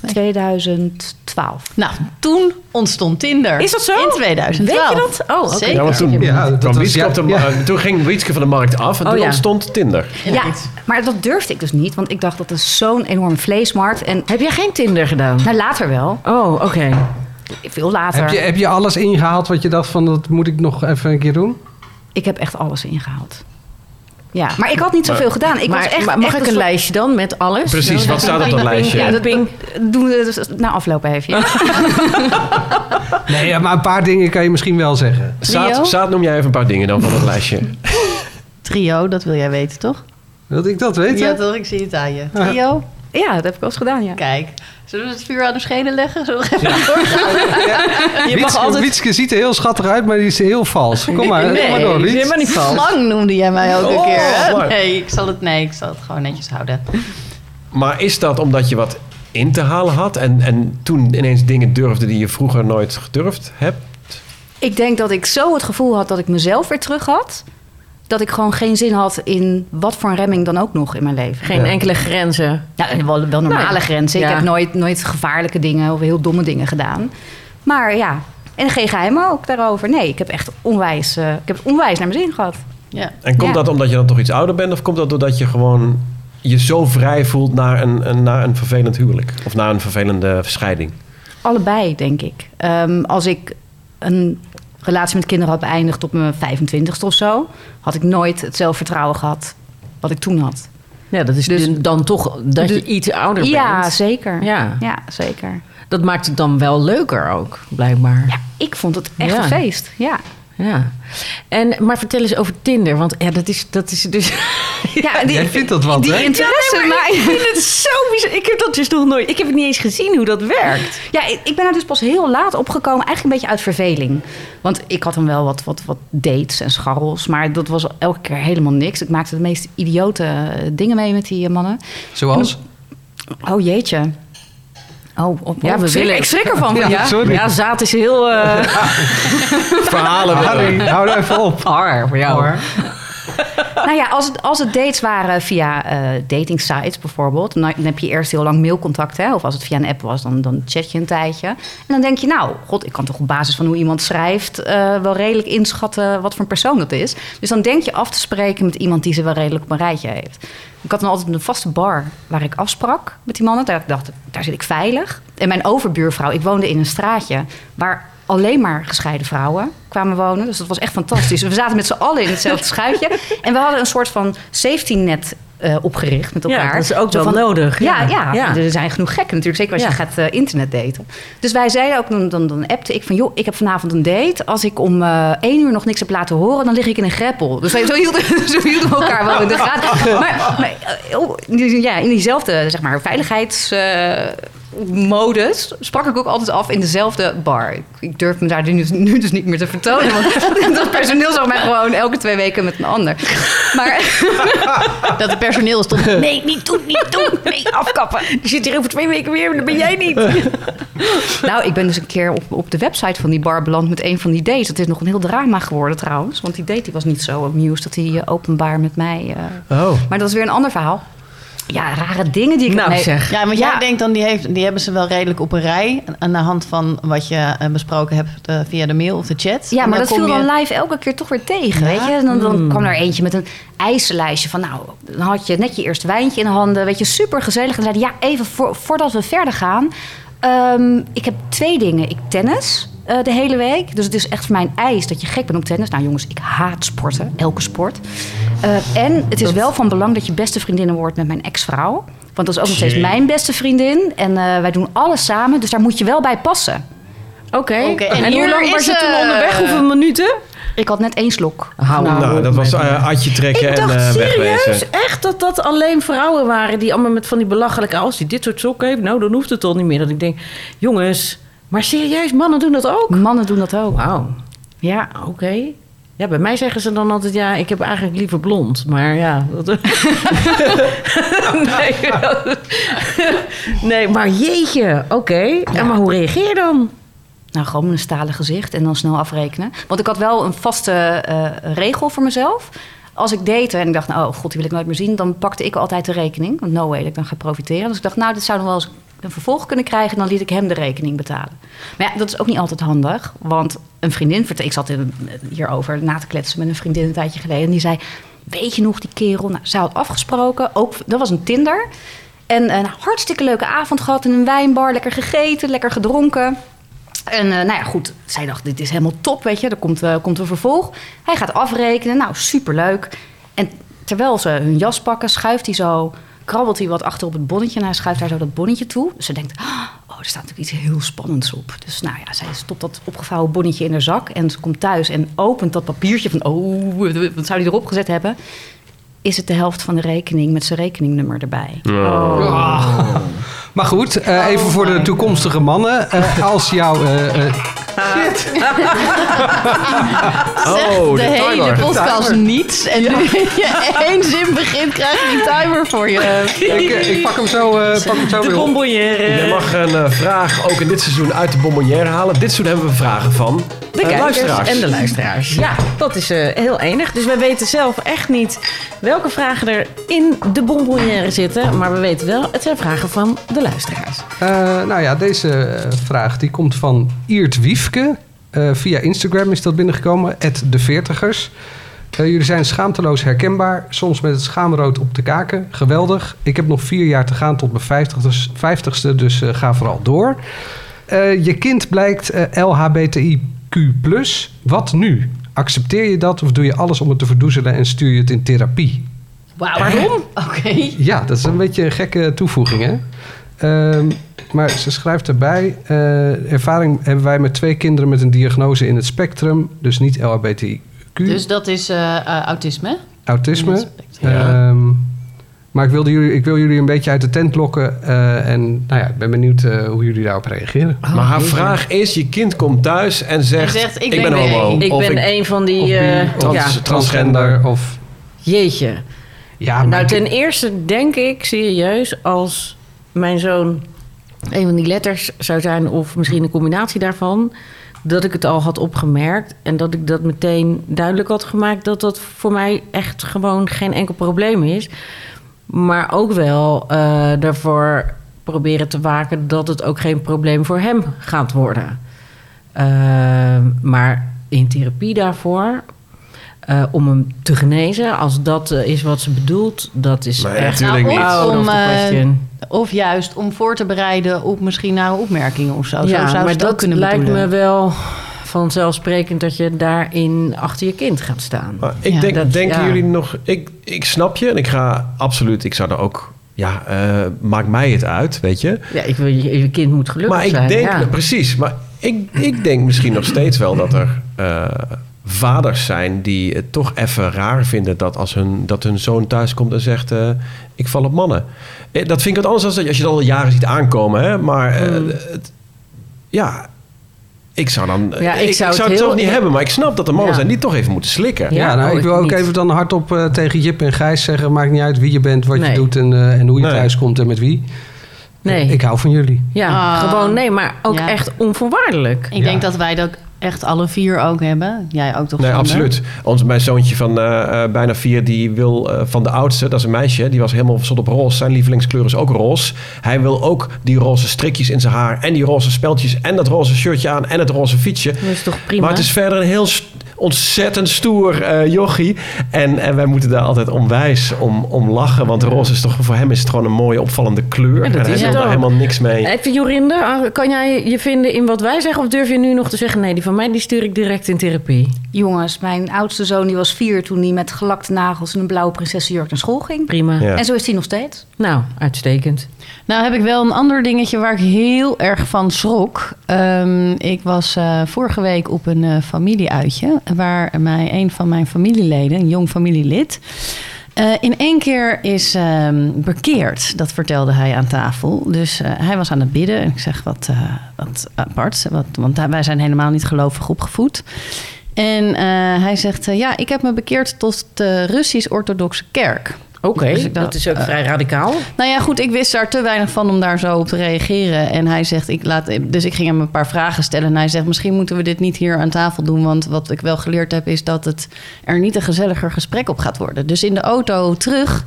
S1: 2012.
S2: Nou, toen ontstond Tinder.
S3: Is dat zo?
S2: In 2012.
S3: Weet je dat? Oh, oké.
S2: Zeker.
S5: Ja, want toen,
S4: Ja, dat
S5: kwam
S4: was-
S5: Wietske
S4: ja,
S5: op de
S4: ja.
S5: ma- toen ging Wietske van de markt af en
S3: Oh,
S5: toen
S3: ja.
S5: ontstond Tinder.
S1: Ja, maar dat durfde ik dus niet, want ik dacht dat is zo'n enorme vleesmarkt. En
S3: Heb jij geen Tinder gedaan?
S1: nou, later wel,
S3: Oh, oké.
S1: veel later.
S4: Heb je, heb je alles ingehaald wat je dacht van dat moet ik nog even een keer doen?
S1: Ik heb echt alles ingehaald. Ja, maar ik had niet zoveel gedaan. Ik
S3: Maar,
S1: was echt,
S3: maar mag
S1: echt
S3: ik een
S1: soort-
S3: lijstje dan met alles?
S5: Precies, wat staat op dat lijstje?
S1: Ja, dat doen we dus na afloop even.
S3: [laughs]
S1: ja.
S4: Nee, ja, maar een paar dingen kan je misschien wel zeggen.
S2: Trio?
S5: Saad, Saad, noem jij even een paar dingen dan van het lijstje.
S2: Trio, dat wil jij weten, toch?
S4: Dat ik dat weet, hè?
S2: Ja, toch? Ik zie het aan je. Trio?
S1: Ja, dat heb ik wel eens gedaan, ja.
S2: Kijk. Zullen we het vuur aan de schenen leggen? Zullen we even
S4: Wietske, Wietske ziet er heel schattig uit, maar die is heel vals. Kom maar, kom maar door, Wiet.
S3: helemaal niet vals.
S2: Slang noemde jij mij ook een
S5: Oh,
S2: keer. hè?
S5: maar-
S2: Nee ik, zal het, nee, ik zal het gewoon netjes houden.
S5: Maar is dat omdat je wat in te halen had en, en toen ineens dingen durfde die je vroeger nooit gedurfd hebt?
S1: Ik denk dat ik zo het gevoel had dat ik mezelf weer terug had. Dat ik gewoon geen zin had in wat voor een remming dan ook nog in mijn leven.
S3: Geen enkele grenzen.
S1: Ja, en wel, wel normale
S3: Nee.
S1: grenzen. Ik
S3: Ja.
S1: heb nooit, nooit gevaarlijke dingen of heel domme dingen gedaan. Maar ja, en geen geheimen ook daarover. Nee, ik heb echt onwijs, eh, ik heb het onwijs naar mijn zin gehad.
S2: Ja.
S5: En komt
S1: Ja.
S5: dat omdat je dan toch iets ouder bent? Of komt dat doordat je gewoon je zo vrij voelt naar een, een, naar een vervelend huwelijk? Of naar een vervelende scheiding?
S1: Allebei, denk ik. Ehm, als ik een relatie met kinderen had beëindigd op mijn 25ste of zo, had ik nooit het zelfvertrouwen gehad wat ik toen had.
S3: Ja, dat is
S1: Dus-
S3: dus, dan toch dat
S1: Dus-
S3: je iets ouder
S1: Ja,
S3: bent.
S1: zeker.
S3: Ja.
S1: ja, zeker.
S3: Dat maakt het dan wel leuker ook, blijkbaar.
S1: Ja, ik vond het echt
S3: Ja.
S1: een feest. Ja.
S3: Ja. En, maar vertel eens over Tinder, want ja, dat, is, dat is dus... [laughs]
S4: Ja, die- Jij vindt dat wat,
S3: die
S4: hè?
S3: interesse,
S1: Ja, nee,
S3: maar,
S1: maar
S3: ik
S1: [laughs]
S3: vind het zo bizar. Ik heb dat dus nog nooit... Ik heb het niet eens gezien hoe dat werkt.
S1: Ja, ik, ik ben er dus pas heel laat opgekomen. Eigenlijk een beetje uit verveling. Want ik had dan wel wat, wat, wat dates en scharrels. Maar dat was elke keer helemaal niks. Ik maakte de meest idiote eh, dingen mee met die eh, mannen.
S4: Zoals?
S1: Oh jeetje. Oh, op,
S3: Ja,
S1: oh,
S3: we
S1: ik schrik-
S3: willen-
S1: Ik schrik ervan.
S3: Ja,
S1: Ja, ja.
S3: sorry. Ja, zaad is heel... [laughs] eh
S5: Verhalen
S4: Harry, hou er even op.
S3: Har voor jou.
S1: Nou ja, als het, als het dates waren via eh dating sites bijvoorbeeld, dan dan heb je eerst heel lang mailcontact. Hè? Of als het via een app was, dan, dan chat je een tijdje. En dan denk je, nou, god, ik kan toch op basis van hoe iemand schrijft eh, wel redelijk inschatten wat voor een persoon dat is. Dus dan denk je af te spreken met iemand die ze wel redelijk op een rijtje heeft. Ik had dan altijd een vaste bar waar ik afsprak met die mannen. Daar dacht ik, daar zit ik veilig. En mijn overbuurvrouw, ik woonde in een straatje waar alleen maar gescheiden vrouwen kwamen wonen. Dus dat was echt fantastisch. We zaten met z'n allen in hetzelfde schuitje. En we hadden een soort van safety net eh, opgericht met
S3: Ja,
S1: elkaar.
S3: dat is ook
S1: Zo
S3: wel nodig,
S1: Ja,
S3: ja. Dus-
S1: ja,
S3: Ja.
S1: er zijn genoeg gekken natuurlijk. Zeker als je
S3: Ja.
S1: gaat eh, internet daten. Dus wij zeiden ook, dan, dan, dan appte ik van... joh, ik heb vanavond een date. Als ik om eh één uur nog niks heb laten horen... dan lig ik in een greppel. Dus wij, zo, hielden, [laughs] zo hielden we elkaar wel in de gaten. Maar, maar eh, oh, die- ja, in diezelfde zeg maar, veiligheids... eh, modus sprak ik ook altijd af in dezelfde bar. Ik- Ik durf me daar nu, nu dus niet meer te vertonen. Want [laughs] dat personeel zag mij gewoon elke twee weken met een ander. Maar
S2: Dat het personeel stond. Nee,
S1: niet doen, niet doen. Nee, afkappen.
S3: Je zit hier over twee weken weer, maar dan ben jij niet.
S1: [laughs] Nou, ik ben dus een keer op, op de website van die bar beland met een van die dates. Dat is nog een heel drama geworden trouwens. Want die date die was niet zo amused dat hij eh, openbaar met mij... eh,
S5: Oh.
S1: Maar dat is weer een ander verhaal. Ja, rare dingen die ik...
S3: Nou,
S1: nee.
S3: zeg.
S2: Ja, want jij denkt dan, die, heeft, die hebben ze wel redelijk op een rij. Aan de hand van wat je eh, besproken hebt eh, via de mail of de chat.
S1: Ja,
S2: En
S1: maar
S2: dan
S1: dat viel
S2: kom je- Hmm.
S1: dan live elke keer toch weer tegen, weet je. En dan, dan kwam er eentje met een ijslijstje van... nou, dan had je net je eerste wijntje in handen. Weet je, super gezellig. En dan zei hij, ja, even voor, voordat we verder gaan... ehm, ik heb twee dingen. Ik tennis eh, de hele week. Dus het is echt voor mijn eis dat je gek bent op tennis. Nou jongens, ik haat sporten. Elke sport. Eh, en het is wel van belang dat je beste vriendinnen wordt met mijn ex-vrouw. Want dat is ook nog steeds mijn beste vriendin. En eh, wij doen alles samen. Dus daar moet je wel bij passen.
S3: Oké.
S2: Oké,
S3: En,
S2: en
S3: hoe
S2: hier
S3: lang was
S2: is,
S3: je toen
S2: eh,
S3: onderweg? Hoeveel minuten?
S1: Ik had net één slok.
S3: Hou
S5: Nou, dat was eh, atje trekken
S3: Ik
S5: en
S3: dacht
S5: eh, wegwezen.
S3: serieus echt dat dat alleen vrouwen waren die allemaal met van die belachelijke... als die dit soort sokken heeft, nou dan hoeft het al niet meer. Dat ik denk, jongens, maar serieus, mannen doen dat ook?
S1: Mannen doen dat ook.
S3: Oh, Wauw. Ja, Ah, oké. Ja, bij mij zeggen ze dan altijd, ja, ik heb eigenlijk liever blond. Maar ja, dat... [laughs] nee, [laughs] dat- nee, maar jeetje, oké. En maar hoe reageer je dan?
S1: Nou, gewoon met een stalen gezicht en dan snel afrekenen. Want ik had wel een vaste eh, regel voor mezelf. Als ik date en ik dacht, nou, oh god, die wil ik nooit meer zien... dan pakte ik altijd de rekening. Want no way dat ik dan ga profiteren. Dus ik dacht, nou, dit zou nog wel eens een vervolg kunnen krijgen... en dan liet ik hem de rekening betalen. Maar ja, dat is ook niet altijd handig. Want een vriendin, vertel- ik zat in- hierover na te kletsen met een vriendin een tijdje geleden... en die zei, weet je nog, die kerel? Nou, zij had afgesproken, ook, dat was een Tinder... En een hartstikke leuke avond gehad in een wijnbar. Lekker gegeten, lekker gedronken. En eh, nou ja, goed, zij dacht, dit is helemaal top, weet je. Er komt, eh, komt een vervolg. Hij gaat afrekenen, nou, superleuk. En terwijl ze hun jas pakken, schuift hij zo... krabbelt hij wat achter op het bonnetje en hij schuift haar zo dat bonnetje toe. Dus ze denkt, oh, er staat natuurlijk iets heel spannends op. Dus nou ja, zij stopt dat opgevouwen bonnetje in haar zak... en ze komt thuis en opent dat papiertje van... oh, wat zou hij erop gezet hebben? Is het de helft van de rekening met zijn rekeningnummer erbij?
S4: Maar goed, eh, even voor de toekomstige mannen. Eh, als jouw... eh, eh,
S5: Oh,
S2: de hele
S5: timer.
S2: podcast niets. En nu [laughs] je één zin begint, krijg je die timer voor je.
S4: ik, ik pak hem zo, eh, pak hem zo weer op.
S5: Je mag een eh, vraag ook in dit seizoen uit de bonbonnière halen. Dit seizoen hebben we vragen van
S3: De
S5: eh,
S3: kijkers
S5: luisteraars.
S3: en de luisteraars. Ja, dat is eh, heel enig. Dus we weten zelf echt niet welke vragen er in de bonbonnière zitten. Maar we weten wel, het zijn vragen van de luisteraars.
S4: Eh, nou ja, deze eh, vraag die komt van Iert Wiefke. Eh, via Instagram is dat binnengekomen, de veertigers. Eh, jullie zijn schaamteloos herkenbaar, soms met het schaamrood op de kaken. Geweldig. Ik heb nog vier jaar te gaan tot mijn vijftigers- vijftigste, dus eh, ga vooral door. Eh, je kind blijkt eh, LHBTIQ+. Wat nu? Accepteer je dat of doe je alles om het te verdoezelen en stuur je het in therapie? [laughs]
S2: Wauw. Waarom? Oké.
S4: Ja, dat is een beetje een gekke toevoeging, hè? Ehm, maar ze schrijft erbij: eh, ervaring hebben wij met twee kinderen met een diagnose in het spectrum, dus niet LHBTQ,
S2: Dus dat is eh, eh, autisme. hè?
S4: autisme.
S2: Ja.
S4: Ehm, maar ik, wilde jullie, ik wil jullie een beetje uit de tent lokken eh, en nou ja, ik ben benieuwd eh, hoe jullie daarop reageren.
S5: maar haar vraag is, je kind komt thuis en zegt...
S3: zegt, ik
S5: ik,
S3: ben
S5: ben
S3: bi,
S5: homo.
S3: ik
S5: Of
S3: ben een van die,
S5: of bi,
S3: eh,
S5: trans-
S3: ja.
S5: transgender.
S4: Of...
S3: Jeetje.
S4: Ja, maar
S3: nou,
S4: ik-
S3: ten eerste denk ik serieus als mijn zoon een van die letters zou zijn, of misschien een combinatie daarvan, dat ik het al had opgemerkt en dat ik dat meteen duidelijk had gemaakt dat dat voor mij echt gewoon geen enkel probleem is. Maar ook wel eh, daarvoor proberen te waken dat het ook geen probleem voor hem gaat worden. Ehm, maar in therapie daarvoor, eh, om hem te genezen, als dat eh, is wat ze bedoelt, dat is
S5: Nee,
S3: echt out
S5: natuurlijk niet. Oh,
S3: of
S2: Om,
S3: the
S2: eh,
S3: question.
S2: of juist om voor te bereiden op misschien naar opmerkingen of zo. zo
S3: ja,
S2: zou ze
S3: maar
S2: het ook
S3: dat
S2: kunnen
S3: lijkt
S2: bedoelen.
S3: me wel vanzelfsprekend dat je daarin achter je kind gaat staan.
S5: Maar ik
S3: Ja,
S5: denk,
S3: dat-
S5: denken
S3: ja.
S5: jullie nog... Ik, ik snap je en ik ga absoluut... Ik zou er ook... Ja, eh maakt mij het uit, weet je.
S3: Ja, ik wil, je, je kind moet gelukkig
S5: maar ik
S3: zijn.
S5: denk,
S3: ja.
S5: precies, maar ik, ik denk misschien nog steeds wel dat er eh, vaders zijn die het toch even raar vinden dat als hun, dat hun zoon thuis komt en zegt: eh, Ik val op mannen. Eh, Dat vind ik wat anders dan dat je- als je dat al jaren ziet aankomen, hè? maar eh,
S3: Hmm.
S5: het- ja. Ik zou dan.
S3: Ja,
S5: ik, zou het,
S3: heel-
S5: zelf niet
S3: ik-
S5: hebben, maar ik snap dat er mannen
S3: Ja.
S5: zijn die het toch even moeten slikken.
S4: Ja,
S3: Ja,
S4: nou,
S3: oh,
S4: ik wil
S3: ik
S4: ook
S3: niet.
S4: even dan hardop eh, tegen Jip en Gijs zeggen... maakt niet uit wie je bent, wat je
S3: Nee.
S4: doet en, eh, en hoe je
S5: Nee.
S4: thuis komt en met wie.
S3: Nee.
S4: Ik hou van jullie.
S3: ja,
S2: Ah.
S3: gewoon nee, maar ook
S2: Ja.
S3: echt onvoorwaardelijk.
S2: Ik denk dat wij dat echt alle vier ook hebben. Jij ook toch?
S5: Nee,
S2: Sander?
S5: absoluut. Ons, mijn zoontje van eh, eh, bijna vier, die wil eh, van de oudste, dat is een meisje, die was helemaal verzot op roze. Zijn lievelingskleur is ook roze. Hij wil ook die roze strikjes in zijn haar en die roze speldjes en dat roze shirtje aan en het roze fietsje.
S3: Dat is toch prima?
S5: Maar het is verder een heel st- ontzettend stoer eh, jochie. En, en wij moeten daar altijd onwijs om, om lachen, want roze is toch voor hem is het gewoon een mooie opvallende kleur.
S3: Ja, dat
S5: en hij
S3: is
S5: wil
S3: het
S5: daar
S3: ook.
S5: helemaal niks mee.
S3: Even Jorinde, ah, kan jij je vinden in wat wij zeggen? Of durf je nu nog te zeggen, nee, die van mij die stuur ik direct in therapie?
S1: Jongens, mijn oudste zoon die was vier toen hij met gelakte nagels en een blauwe prinsessenjurk naar school ging.
S3: Prima.
S5: Ja.
S1: En zo is hij nog steeds.
S3: Nou, uitstekend.
S2: Nou heb ik wel een ander dingetje waar ik heel erg van schrok. Ehm, ik was eh, vorige week op een eh, familieuitje... waar mij een van mijn familieleden, een jong familielid... eh, in één keer is ehm, bekeerd, dat vertelde hij aan tafel. Dus eh, hij was aan het bidden en ik zeg wat, eh, wat apart, wat, want wij zijn helemaal niet gelovig opgevoed. En eh, hij zegt, eh, ja, ik heb me bekeerd tot de Russisch-orthodoxe kerk.
S3: Oké,
S2: Dus ik dacht,
S3: dat is ook vrij radicaal.
S2: Nou ja, goed, ik wist daar te weinig van om daar zo op te reageren. En hij zegt, ik laat, dus ik ging hem een paar vragen stellen. En hij zegt, misschien moeten we dit niet hier aan tafel doen. Want wat ik wel geleerd heb, is dat het er niet een gezelliger gesprek op gaat worden. Dus in de auto terug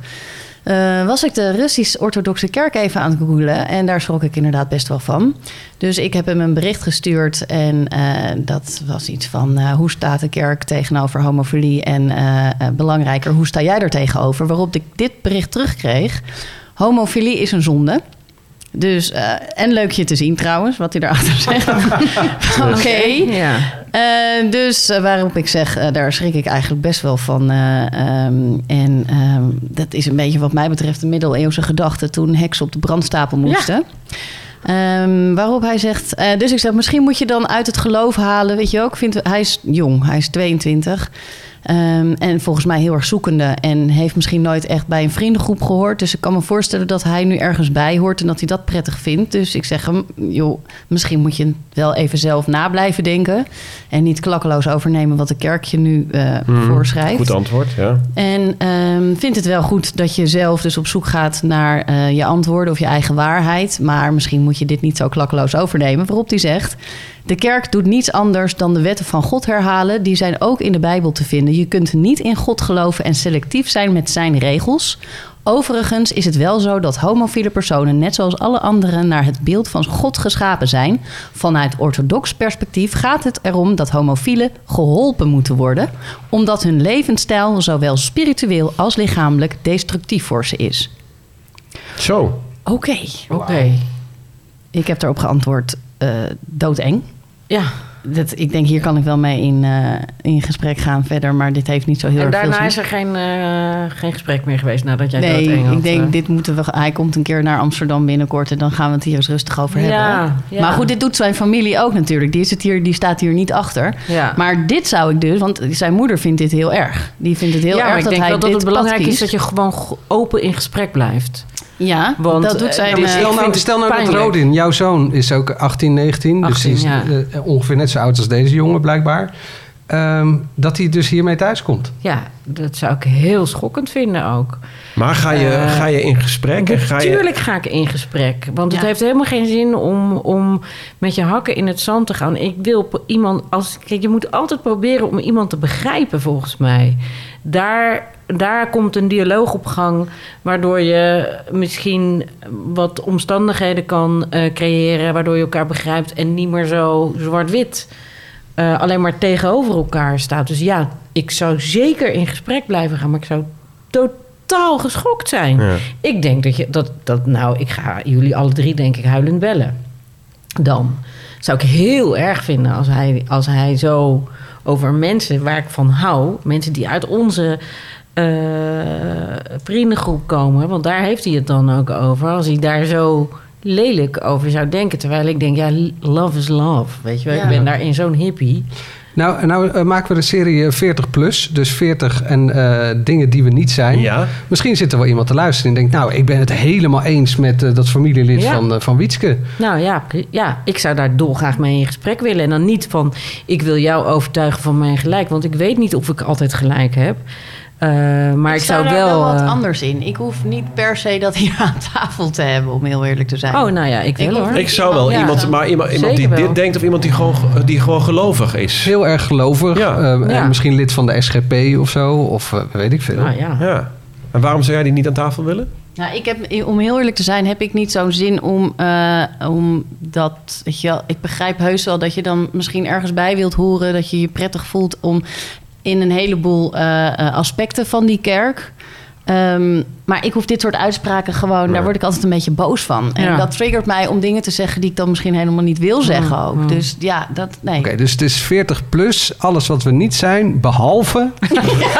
S2: eh, was ik de Russisch-Orthodoxe Kerk even aan het googelen. En daar schrok ik inderdaad best wel van. Dus ik heb hem een bericht gestuurd. En eh, dat was iets van: eh, hoe staat de kerk tegenover homofilie? En eh, eh, belangrijker, hoe sta jij er tegenover? Waarop ik dit bericht terugkreeg: homofilie is een zonde. Dus, eh, en leuk je te zien trouwens, wat hij daarachter zegt. Oké.
S3: Ja.
S2: Eh, dus eh, waarop ik zeg, eh, daar schrik ik eigenlijk best wel van. eh, ehm, en ehm, dat is een beetje wat mij betreft de middeleeuwse gedachte toen heksen op de brandstapel moesten. Ehm, waarop hij zegt, eh, dus ik zeg, misschien moet je dan uit het geloof halen. Weet je ook, vindt, hij is jong, hij is 22. Ehm, en volgens mij heel erg zoekende. En heeft misschien nooit echt bij een vriendengroep gehoord. Dus ik kan me voorstellen dat hij nu ergens bij hoort en dat hij dat prettig vindt. Dus ik zeg hem, joh, misschien moet je wel even zelf na blijven denken. En niet klakkeloos overnemen wat de kerk je nu eh, voorschrijft.
S5: Goed antwoord, ja.
S2: En ehm vindt het wel goed dat je zelf dus op zoek gaat naar eh, je antwoorden of je eigen waarheid. Maar misschien moet je dit niet zo klakkeloos overnemen. Waarop hij zegt: De kerk doet niets anders dan de wetten van God herhalen. Die zijn ook in de Bijbel te vinden. Je kunt niet in God geloven en selectief zijn met zijn regels. Overigens is het wel zo dat homofiele personen, net zoals alle anderen, naar het beeld van God geschapen zijn. Vanuit orthodox perspectief gaat het erom dat homofielen geholpen moeten worden, omdat hun levensstijl zowel spiritueel als lichamelijk destructief voor ze is.
S5: Zo.
S2: Oké.
S3: Oké.
S2: Ik heb daarop geantwoord: eh, doodeng.
S3: Ja.
S2: dat, ik denk, hier kan ik wel mee in, uh, in gesprek gaan verder. Maar dit heeft niet zo heel
S3: en
S2: erg veel
S3: daarna
S2: zin.
S3: is er geen, eh, geen gesprek meer geweest nadat jij
S2: Nee,
S3: dood eng had,
S2: ik denk,
S3: eh.
S2: dit moeten we. Hij komt een keer naar Amsterdam binnenkort en dan gaan we het hier eens rustig over hebben.
S3: Ja, ja.
S2: Maar goed, dit doet zijn familie ook natuurlijk. Die, is het hier, die staat hier niet achter.
S3: Ja.
S2: Maar dit zou ik dus, want zijn moeder vindt dit heel erg. Die vindt het heel
S3: ja,
S2: erg
S3: maar ik
S2: dat
S3: denk
S2: hij
S3: wel dat
S2: dit
S3: het belangrijk
S2: pad
S3: is
S2: kiest.
S3: dat je gewoon go- open in gesprek blijft.
S2: Ja,
S3: Want,
S2: dat doet
S3: eh,
S2: zijn.
S3: dit
S2: eh,
S3: is
S4: Stel
S3: Ik
S4: nou,
S3: vind het
S4: stel nou dat
S3: pijnlijk.
S4: Rodin, jouw zoon, is ook 18, 19. dus
S3: 18,
S4: die is
S3: ja.
S4: eh, ongeveer net zo oud als deze jongen blijkbaar. Ehm, dat hij dus hiermee thuiskomt.
S3: Ja, dat zou ik heel schokkend vinden ook.
S5: Maar ga je,
S3: Eh,
S5: ga je in gesprek? en Ga je,
S3: Tuurlijk ga ik in gesprek. Want het heeft helemaal geen zin om, om met je hakken in het zand te gaan. Ik wil pro- iemand als. Kijk, je moet altijd proberen om iemand te begrijpen, volgens mij. Daar, daar komt een dialoog op gang. Waardoor je misschien wat omstandigheden kan eh, creëren. Waardoor je elkaar begrijpt en niet meer zo zwart-wit. eh, alleen maar tegenover elkaar staat. Dus ja, ik zou zeker in gesprek blijven gaan. Maar ik zou totaal geschokt zijn.
S5: Ja.
S3: Ik denk dat je dat, dat nou, ik ga jullie alle drie denk ik huilend bellen. Dan zou ik heel erg vinden als hij, als hij zo over mensen waar ik van hou, mensen die uit onze eh, vriendengroep komen, want daar heeft hij het dan ook over. Als hij daar zo lelijk over zou denken, terwijl ik denk ja, love is love, weet je wel? Ik ben daarin zo'n hippie.
S4: Nou, nou eh, maken we de serie eh, 40 plus. Dus 40 en eh, dingen die we niet zijn.
S5: Ja.
S4: Misschien zit er wel iemand te luisteren en denkt... nou, ik ben het helemaal eens met eh, dat familielid
S3: Ja.
S4: van, eh, van Wietske.
S3: Nou ja, pre- ja, ik zou daar dolgraag mee in gesprek willen. En dan niet van, ik wil jou overtuigen van mijn gelijk. Want ik weet niet of ik altijd gelijk heb. Eh, maar ik, zou
S2: daar
S3: wel...
S2: wat
S3: eh,
S2: anders in. Ik hoef niet per se dat hier aan tafel te hebben, om heel eerlijk te zijn.
S3: Oh, nou ja, ik wil
S2: Ik-
S3: hoor.
S5: ik zou wel
S3: Ja.
S5: iemand, maar iemand, iemand die
S3: Zeker wel.
S5: dit denkt of iemand die gewoon, eh, die gewoon gelovig is.
S4: Heel erg gelovig.
S5: Ja.
S4: eh, en
S3: Ja.
S4: misschien lid van de SGP of zo. Of eh, weet ik veel.
S3: Nou ja.
S5: Ja. En waarom zou jij die niet aan tafel willen?
S2: Nou, ik heb, om heel eerlijk te zijn, heb ik niet zo'n zin om, eh, om dat. Weet je wel, ik begrijp heus wel dat je dan misschien ergens bij wilt horen. Dat je je prettig voelt om in een heleboel eh, eh, aspecten van die kerk. Ehm, maar ik hoef dit soort uitspraken gewoon, daar word ik altijd een beetje boos van. En
S3: Ja.
S2: dat triggert mij om dingen te zeggen die ik dan misschien helemaal niet wil zeggen ook. Dus ja, dat, nee.
S4: Oké, dus het is 40 plus. Alles wat we niet zijn, behalve...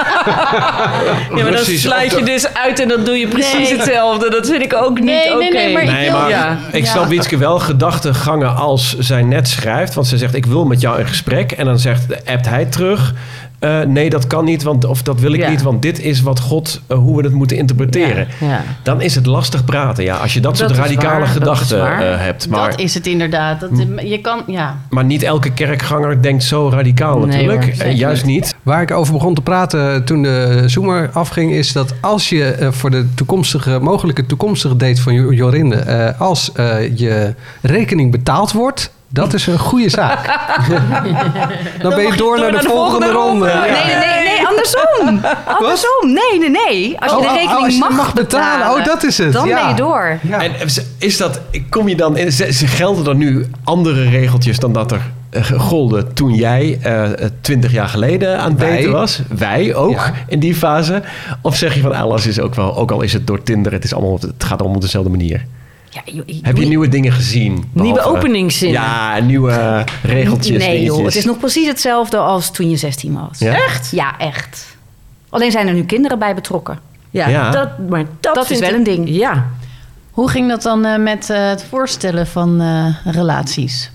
S10: Ja, maar dan
S5: Precies,
S10: sluit
S5: of
S10: je
S5: de-
S10: dus uit en dan doe je precies hetzelfde. Dat vind ik ook niet
S2: Nee,
S10: oké.
S2: nee, nee, maar ik
S5: Nee,
S2: wil-
S5: maar
S10: Ja.
S5: ik snap Wietske wel gedachtegangen als zij net schrijft. Want ze zegt, ik wil met jou in gesprek. En dan zegt, appt hij terug. eh, nee, dat kan niet, want, of dat wil ik
S3: Ja.
S5: niet. Want dit is wat God, eh, hoe we het moeten interpreteren.
S3: Ja.
S5: Dan is het lastig praten, ja. Als je dat,
S3: Dat
S5: soort
S3: is
S5: radicale
S3: waar, dat is
S5: gedachten
S3: waar.
S5: eh, hebt. Maar,
S2: dat is het inderdaad. Dat, je kan, ja.
S5: maar niet elke kerkganger denkt zo radicaal
S3: Nee,
S5: natuurlijk.
S3: hoor,
S5: Eh,
S3: zeker
S5: juist niet.
S4: Waar ik over begon te praten toen de Zoomer afging, is dat als je eh, voor de toekomstige, mogelijke toekomstige date van Jo- Jorinde, eh, als eh, je rekening betaald wordt, dat is een goede zaak. Dan, ben je door naar de, volgende, ronde. Ja.
S1: Nee, nee, nee, nee, andersom. Andersom. Nee, nee, nee. Als je
S4: Oh,
S1: de
S4: oh,
S1: rekening
S4: als je
S1: mag,
S4: mag betalen. Oh, dat is het,
S1: Dan
S4: ja.
S1: ben je door.
S4: Ja.
S5: En z- is dat, kom je dan, z- z- gelden er nu andere regeltjes dan dat er eh, golden toen jij eh, twintig jaar geleden aan het
S4: Wij.
S5: daten was? Wij ook
S4: Ja.
S5: in die fase. Of zeg je van alles is ook wel, ook al is het door Tinder, het, is allemaal, op- het gaat allemaal op dezelfde manier.
S1: Ja, joh,
S5: Heb je
S1: joh,
S5: nieuwe dingen gezien? Behalve-
S3: openingszinnen.
S5: Ja, nieuwe eh, regeltjes.
S1: Nee
S5: dingetjes.
S1: joh, het is nog precies hetzelfde als toen je 16 was.
S5: Ja?
S1: Echt? Ja, echt. Alleen zijn er nu kinderen bij betrokken.
S3: Ja,
S5: Ja.
S3: Dat, maar dat,
S1: Dat is
S3: vind
S1: wel
S3: ik-
S1: een ding.
S3: Ja.
S2: Hoe ging dat dan eh, met eh, het voorstellen van eh, relaties?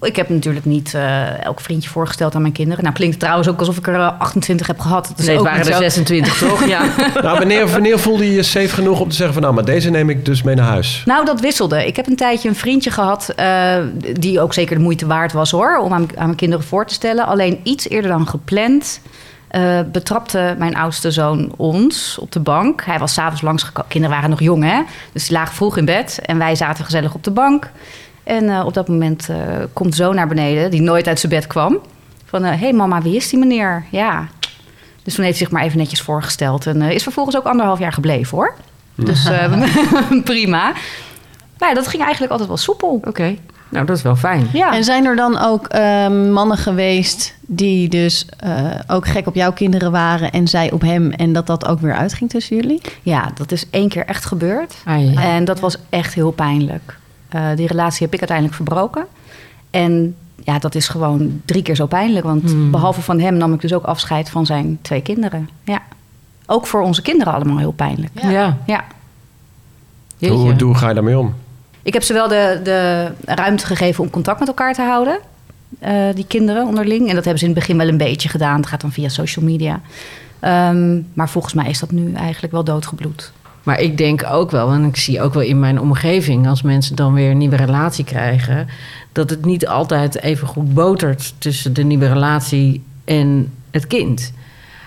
S1: Ik heb natuurlijk niet eh, elk vriendje voorgesteld aan mijn kinderen. Nou klinkt het trouwens ook alsof ik er eh, 28 heb gehad. Dat is
S3: Nee, het
S1: ook
S3: waren
S1: niet
S3: er
S1: zo.
S3: 26 toch? Ja.
S5: [laughs] [laughs] Nou, wanneer, wanneer voelde je je safe genoeg om te zeggen van nou, maar deze neem ik dus mee naar huis?
S1: Nou, dat wisselde. Ik heb een tijdje een vriendje gehad. eh, die ook zeker de moeite waard was hoor. Om aan, aan mijn kinderen voor te stellen. Alleen iets eerder dan gepland. eh, betrapte mijn oudste zoon ons op de bank. Hij was s'avonds langsgekomen. Kinderen waren nog jong, hè? Dus die lagen vroeg in bed. En wij zaten gezellig op de bank. En eh, op dat moment eh, komt zoon naar beneden, die nooit uit zijn bed kwam. Van, hé hey mama, wie is die meneer? Ja. Dus toen heeft hij zich maar even netjes voorgesteld. En eh, is vervolgens ook anderhalf jaar gebleven, hoor. Dus
S3: [laughs]
S1: eh, [laughs] prima. Maar ja, dat ging eigenlijk altijd wel soepel.
S3: Oké. Nou, dat is wel fijn.
S1: Ja.
S2: En zijn er dan ook eh, mannen geweest die dus eh, ook gek op jouw kinderen waren en zij op hem en dat dat ook weer uitging tussen jullie?
S1: ja, dat is één keer echt gebeurd.
S3: Ah, ja.
S1: En dat was echt heel pijnlijk. Eh, die relatie heb ik uiteindelijk verbroken. En ja, dat is gewoon drie keer zo pijnlijk. Want
S3: Hmm.
S1: behalve van hem nam ik dus ook afscheid van zijn twee kinderen. Ja. Ook voor onze kinderen allemaal heel pijnlijk.
S3: Ja. ja.
S1: Ja.
S5: Hoe, hoe ga je daarmee om?
S1: Ik heb ze wel de, de ruimte gegeven om contact met elkaar te houden. eh, die kinderen onderling. En dat hebben ze in het begin wel een beetje gedaan. Het gaat dan via social media. Ehm, maar volgens mij is dat nu eigenlijk wel doodgebloed.
S3: Maar ik denk ook wel, en ik zie ook wel in mijn omgeving, als mensen dan weer een nieuwe relatie krijgen, dat het niet altijd even goed botert tussen de nieuwe relatie en het kind.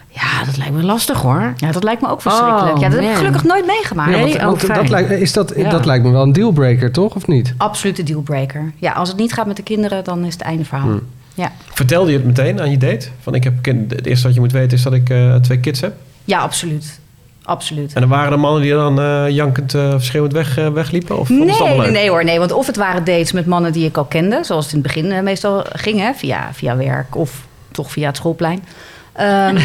S3: Ja, dat lijkt me lastig hoor.
S1: Ja, dat lijkt me ook verschrikkelijk.
S5: Oh,
S1: ja, dat heb ik gelukkig nooit meegemaakt.
S3: Nee,
S4: want,
S3: ook
S4: want
S3: fijn.
S4: dat, lijkt, is dat,
S3: Ja.
S4: dat lijkt me wel een dealbreaker, toch? Of niet?
S1: Absolute dealbreaker. Ja, als het niet gaat met de kinderen, dan is het einde verhaal.
S5: Hmm.
S1: Ja.
S5: Vertelde je het meteen aan je date? Van ik heb kind, het eerste wat je moet weten is dat ik eh, twee kids heb.
S1: ja, absoluut. Absoluut.
S5: En er waren er mannen die dan eh, jankend eh, of schreeuwend weg, eh, wegliepen? Of vonden ze het
S1: Nee,
S5: allemaal
S1: nee,
S5: leuk?
S1: nee hoor. Nee, want of het waren dates met mannen die ik al kende, zoals het in het begin eh, meestal ging, hè, via, via werk of toch via het schoolplein. Ehm,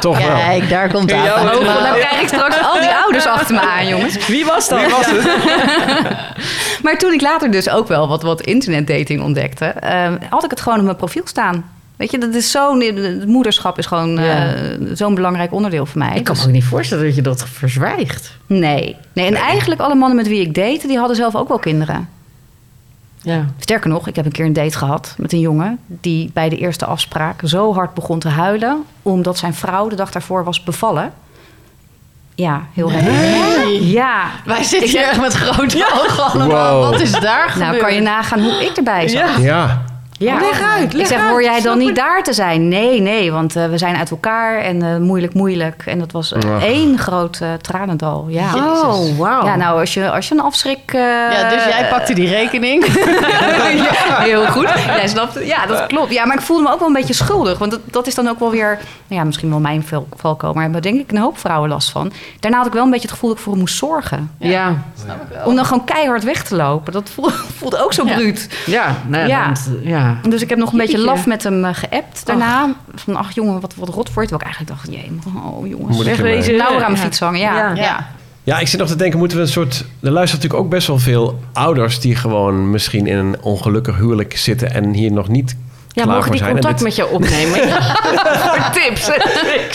S5: Toch wel.
S2: Kijk, daar komt
S10: Ja,
S2: aan.
S10: wel.
S1: dan krijg ik straks al die ouders achter me aan, jongens.
S10: Wie was dat?
S1: [laughs] Maar toen ik later dus ook wel wat, wat internetdating ontdekte, eh, had ik het gewoon op mijn profiel staan. Weet je, dat is zo'n. eh, het Moederschap is gewoon
S3: Ja.
S1: eh, zo'n belangrijk onderdeel voor mij. Dus
S3: Ik kan me ook niet voorstellen dat je dat verzwijgt.
S1: Nee. nee. En eigenlijk alle mannen met wie ik date, die hadden zelf ook wel kinderen.
S3: Ja.
S1: Sterker nog, ik heb een keer een date gehad met een jongen die bij de eerste afspraak zo hard begon te huilen omdat zijn vrouw de dag daarvoor was bevallen. Ja, heel heftig. Ja.
S2: Wij zitten hier echt met grote ogen allemaal.
S5: Wow.
S2: Wat is daar gebeurd?
S1: Nou, kan je nagaan hoe ik erbij zat.
S5: Ja.
S3: Ja. Oh, Leg uit, leg
S1: ik zeg,
S3: uit,
S1: hoor jij
S3: snap
S1: dan niet
S3: ik.
S1: daar te zijn? Nee, nee, want eh, we zijn uit elkaar en eh, moeilijk, moeilijk. En dat was eh,
S5: Ach.
S1: één groot eh, tranendal. Ja.
S3: Oh, wauw.
S1: Ja, nou, als je, als je een afschrik... eh,
S2: Ja, dus jij pakte die rekening.
S1: [laughs] ja, [laughs] heel goed. Jij snapt het. Ja, dat klopt. Ja, maar ik voelde me ook wel een beetje schuldig. Want dat, dat is dan ook wel weer... nou ja, misschien wel mijn val- valkuil. Maar daar denk ik een hoop vrouwen last van. Daarna had ik wel een beetje het gevoel dat ik voor hem moest zorgen.
S3: Ja. ja.
S1: Om dan gewoon keihard weg te lopen. Dat voelde, [laughs] voelde ook zo bruut.
S3: nou ja,
S1: Ja.
S3: want- ja.
S1: Dus ik heb nog een beetje
S3: Jeetje.
S1: laf met hem eh, geappt daarna. Van, ach jongen, wat, wat rot wordt. Terwijl ik eigenlijk dacht, jee, oh jongens. Nou,
S5: Moet ik
S1: Echt,
S5: erbij?
S1: Nauwer aan mijn fiets hangen, ja.
S3: Ja.
S1: ja.
S5: Ja, ik zit nog te denken, moeten we een soort... Er luisteren natuurlijk ook best wel veel ouders... die gewoon misschien in een ongelukkig huwelijk zitten... en hier nog niet
S3: Ja,
S5: klaar
S3: mogen
S5: voor
S3: die
S5: zijn. En
S3: contact
S5: dit-
S3: met je
S1: [laughs]
S3: opnemen? [laughs] Voor tips.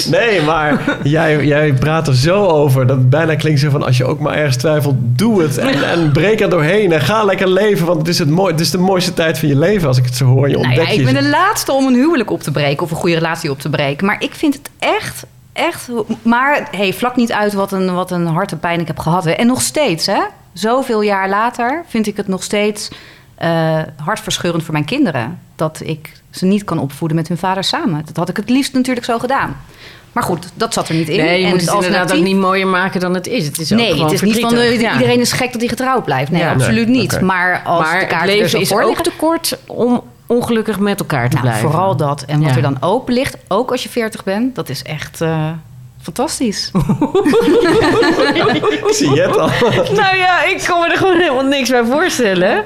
S5: Nee, maar jij, jij praat er zo over. Dat het bijna klinkt zo van als je ook maar ergens twijfelt, doe het. En, en breek er doorheen en ga lekker leven. Want het is, het, mooi, het is de mooiste tijd van je leven als ik het zo hoor. Je
S1: Nou ja,
S5: ontdekt
S1: ik
S5: je.
S1: ben de laatste om een huwelijk op te breken of een goede relatie op te breken. Maar ik vind het echt, echt. Maar hey, vlak niet uit wat een, wat een hartepijn ik heb gehad. hè. En nog steeds, hè? Zoveel jaar later vind ik het nog steeds eh hartverscheurend voor mijn kinderen. Dat ik ze niet kan opvoeden met hun vader samen. Dat had ik het liefst natuurlijk zo gedaan. Maar goed, dat zat er niet in.
S3: Nee, je
S1: En
S3: moet het inderdaad
S1: alternatief-
S3: ook niet mooier maken dan het is. Het is ook
S1: Nee,
S3: gewoon
S1: het is niet van
S3: verdrietig.
S1: eh,
S3: Ja.
S1: iedereen is gek dat hij getrouwd blijft. Nee,
S3: Ja.
S1: absoluut
S5: Nee,
S1: niet.
S5: oké.
S1: Maar als
S3: maar
S1: de
S3: het
S1: kaarten er zo
S3: leven is
S1: voor
S3: ook
S1: liggen-
S3: te kort om ongelukkig met elkaar te
S1: nou,
S3: blijven.
S1: vooral dat. En wat
S3: Ja.
S1: er dan open ligt, ook als je 40 bent, dat is echt eh, fantastisch.
S5: Ik zie je het al.
S3: nou ja, ik kon me er gewoon helemaal niks bij voorstellen.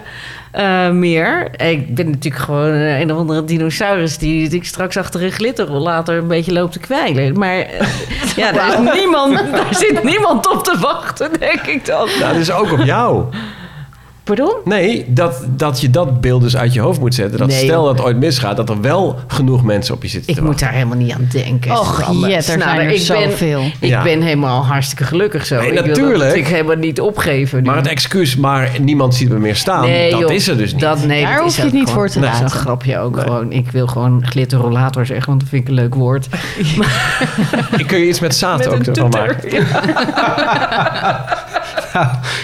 S3: eh, meer. Ik ben natuurlijk gewoon eh, een of andere dinosaurus die ik straks achter een glitterrol later een beetje loopt te kwijlen. Maar eh, ja, daar, is niemand, daar zit niemand op te wachten, denk ik dan.
S5: Nou, dat is ook op jou.
S3: Pardon?
S5: Nee, dat, dat je dat beeld dus uit je hoofd moet zetten. Dat
S3: Nee,
S5: stel
S3: joh.
S5: dat het ooit misgaat, dat er wel genoeg mensen op je zitten
S3: Ik
S5: te
S3: moet
S5: wachten.
S3: daar helemaal niet aan denken.
S2: Och,
S3: Sander.
S2: jet, er
S3: Snap
S2: zijn
S3: je?
S2: er
S3: ik ben,
S2: zoveel.
S3: Ik
S5: Ja.
S3: ben helemaal hartstikke gelukkig zo.
S5: Nee,
S3: ik wil dat
S5: natuurlijk.
S3: natuurlijk helemaal niet opgeven nu.
S5: Maar het excuus, maar niemand ziet me meer staan.
S3: Nee,
S5: dat
S3: joh,
S5: is er dus niet.
S3: Dat, nee,
S2: Daar
S3: dat
S2: hoef
S3: is
S2: je
S3: ook
S2: het niet
S3: gewoon-
S2: voor te
S3: dat is
S2: laten.
S3: een grapje ook gewoon. Ik wil gewoon glitterrollator zeggen, want dat vind ik een leuk woord.
S5: Ik kun je iets met zaad ook ervan maken.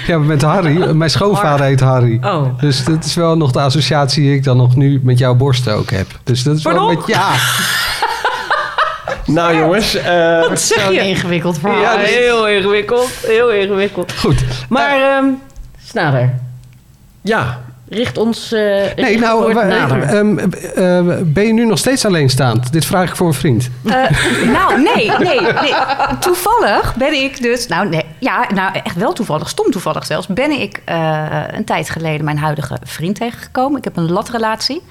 S4: Ja, met Harry. Mijn schoonvader heet Harry.
S3: Oh.
S4: Dus dat is wel nog de associatie die ik dan nog nu met jouw borsten ook heb. Dus dat is wel
S3: Pardon?
S4: met... Ja,
S5: Nou jongens, eh,
S2: [laughs] Zo'n ingewikkeld verhaal.
S3: Ja, heel ingewikkeld. Heel ingewikkeld.
S4: goed.
S3: Maar, ehm Snader,
S5: ja.
S3: richt ons... eh, richt
S4: Nee,
S3: het
S4: nou,
S3: woord
S4: wa-
S3: nader.
S4: ehm, eh, ben je nu nog steeds alleenstaand? Dit vraag ik voor een
S1: [laughs]
S4: vriend.
S1: Eh, nou, nee, nee, nee. Toevallig ben ik dus... Nou, nee, ja, nou, echt wel toevallig, stom toevallig zelfs... ben ik eh, een tijd geleden mijn huidige vriend tegengekomen. Ik heb een latrelatie.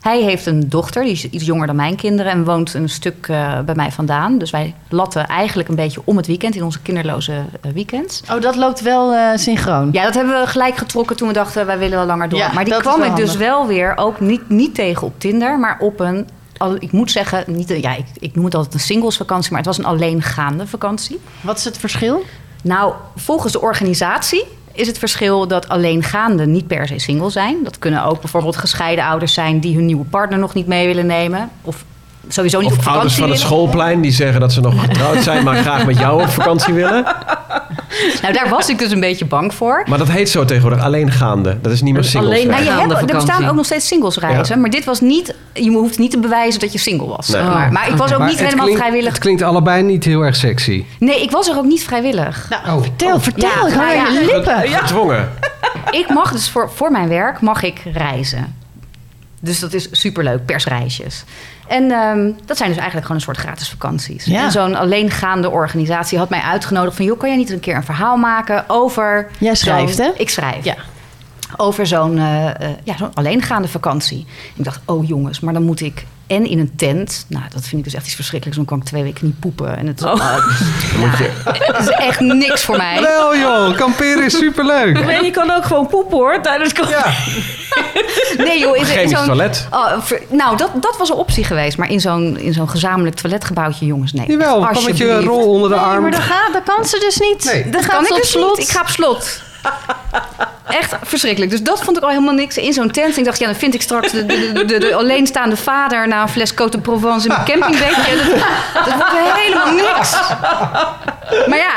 S1: Hij heeft een dochter, die is iets jonger dan mijn kinderen en woont een stuk eh, bij mij vandaan. Dus wij latten eigenlijk een beetje om het weekend in onze kinderloze eh, weekends.
S2: Oh, dat loopt wel eh, synchroon.
S1: Ja, dat hebben we gelijk getrokken toen we dachten wij willen wel langer door.
S2: Ja,
S1: maar die
S2: dat is
S1: kwam ik
S2: wel
S1: dus wel weer ook niet, niet tegen op Tinder, maar op een. al- Ik moet zeggen, niet, een- ja, ik, ik noem het altijd een singlesvakantie, maar het was een alleengaande vakantie.
S2: Wat is het verschil?
S1: Nou, volgens de organisatie is het verschil dat alleengaanden niet per se single zijn. Dat kunnen ook bijvoorbeeld gescheiden ouders zijn die hun nieuwe partner nog niet mee willen nemen. Of sowieso niet op
S5: Of
S1: vakantie
S5: ouders van het
S1: willen.
S5: schoolplein die zeggen dat
S1: [laughs]
S5: ze nog getrouwd zijn, maar graag met jou op vakantie willen.
S1: Nou, daar was ik dus een beetje bang voor.
S5: Maar dat heet zo tegenwoordig alleengaande. Dat is niet meer singles.
S3: alleen-
S1: Nou, je
S3: Gaande
S1: hebt, er
S3: vakantie.
S1: bestaan ook nog steeds singlesreizen,
S5: Ja.
S1: maar dit was niet. Je hoeft niet te bewijzen dat je single was.
S5: Nee.
S1: zeg maar. maar ik was ook
S4: Maar
S1: niet
S4: het
S1: helemaal
S4: klinkt-
S1: vrijwillig.
S4: Het klinkt allebei niet heel erg sexy.
S1: Nee, ik was er ook niet vrijwillig.
S4: oh.
S2: Vertel, vertel.
S1: Ja,
S2: ik hoor
S1: nou ja.
S2: je lippen.
S5: Get- Gedwongen.
S1: [laughs] Ik mag dus voor, voor mijn werk mag ik reizen. Dus dat is superleuk, persreisjes. En ehm, dat zijn dus eigenlijk gewoon een soort gratis vakanties.
S2: Ja.
S1: En zo'n alleengaande organisatie had mij uitgenodigd van... joh, kan jij niet een keer een verhaal maken over...
S2: Jij schrijft,
S1: zo'n-
S2: hè?
S1: Ik schrijf.
S2: Ja.
S1: Over zo'n eh, eh, ja, zo'n alleengaande vakantie. Ik dacht, oh jongens, maar dan moet ik... en in een tent. Nou, dat vind ik dus echt iets verschrikkelijks. Dan kan ik twee weken niet poepen. En
S5: Oh.
S1: [laughs] het, het is echt niks voor mij.
S4: Wel joh, kamperen is
S3: [laughs]
S4: superleuk.
S10: En je kan ook gewoon poepen hoor tijdens het
S4: Ja.
S1: Nee joh, in, in
S5: Chemisch
S1: zo'n-
S5: toilet.
S1: Oh, ver- nou, dat, dat was een optie geweest. Maar in zo'n, in zo'n gezamenlijk toiletgebouwtje, jongens, nee.
S4: Jawel, kom met je
S1: Alsjeblieft.
S4: rol onder de arm.
S2: Maar dat, gaat, dat kan ze dus niet.
S4: Nee.
S2: Dan
S1: Dat
S2: gaat
S1: kan
S2: ze
S1: ik
S2: op
S1: dus
S2: slot.
S1: niet. Ik ga op slot. [laughs] Echt verschrikkelijk. Dus dat vond ik al helemaal niks in zo'n tent. Ik dacht, ja, dan vind ik straks de, de, de, de- de alleenstaande vader... na een fles Côte de Provence in mijn
S4: [laughs]
S1: campingbedje. Dat, dat wordt helemaal niks. Maar ja,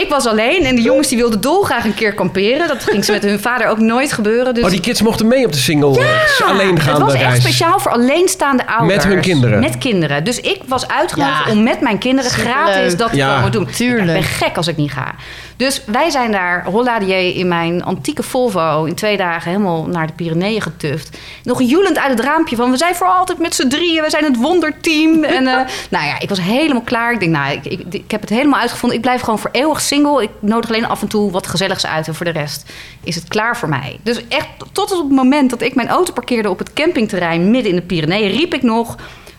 S1: ik was alleen. En de jongens die wilden dolgraag een keer kamperen. Dat ging ze met hun vader ook nooit gebeuren. Dus
S5: Oh, die kids mochten mee op de single. eh,
S1: het
S5: alleengaande
S1: was echt
S5: reis.
S1: speciaal voor alleenstaande ouders.
S5: Met hun kinderen.
S1: Met kinderen. Dus ik was uitgenodigd
S2: Ja.
S1: om met mijn kinderen
S2: Superleuk.
S1: gratis dat te
S5: Ja.
S1: komen doen.
S2: Tuurlijk.
S1: Ik ben gek als ik niet ga. Dus wij zijn daar, holla die in mijn antieke Volvo... in twee dagen helemaal naar de Pyreneeën getuft. Nog joelend uit het raampje van... we zijn voor altijd met z'n drieën, we zijn het
S3: [laughs]
S1: wonderteam. En, eh, nou ja, ik was helemaal klaar. Ik denk, nou, ik, ik, ik heb het helemaal uitgevonden. Ik blijf gewoon voor eeuwig single. Ik nodig alleen af en toe wat gezelligs uit. En voor de rest is het klaar voor mij. Dus echt tot op het moment dat ik mijn auto parkeerde... op het campingterrein midden in de Pyreneeën... riep ik nog...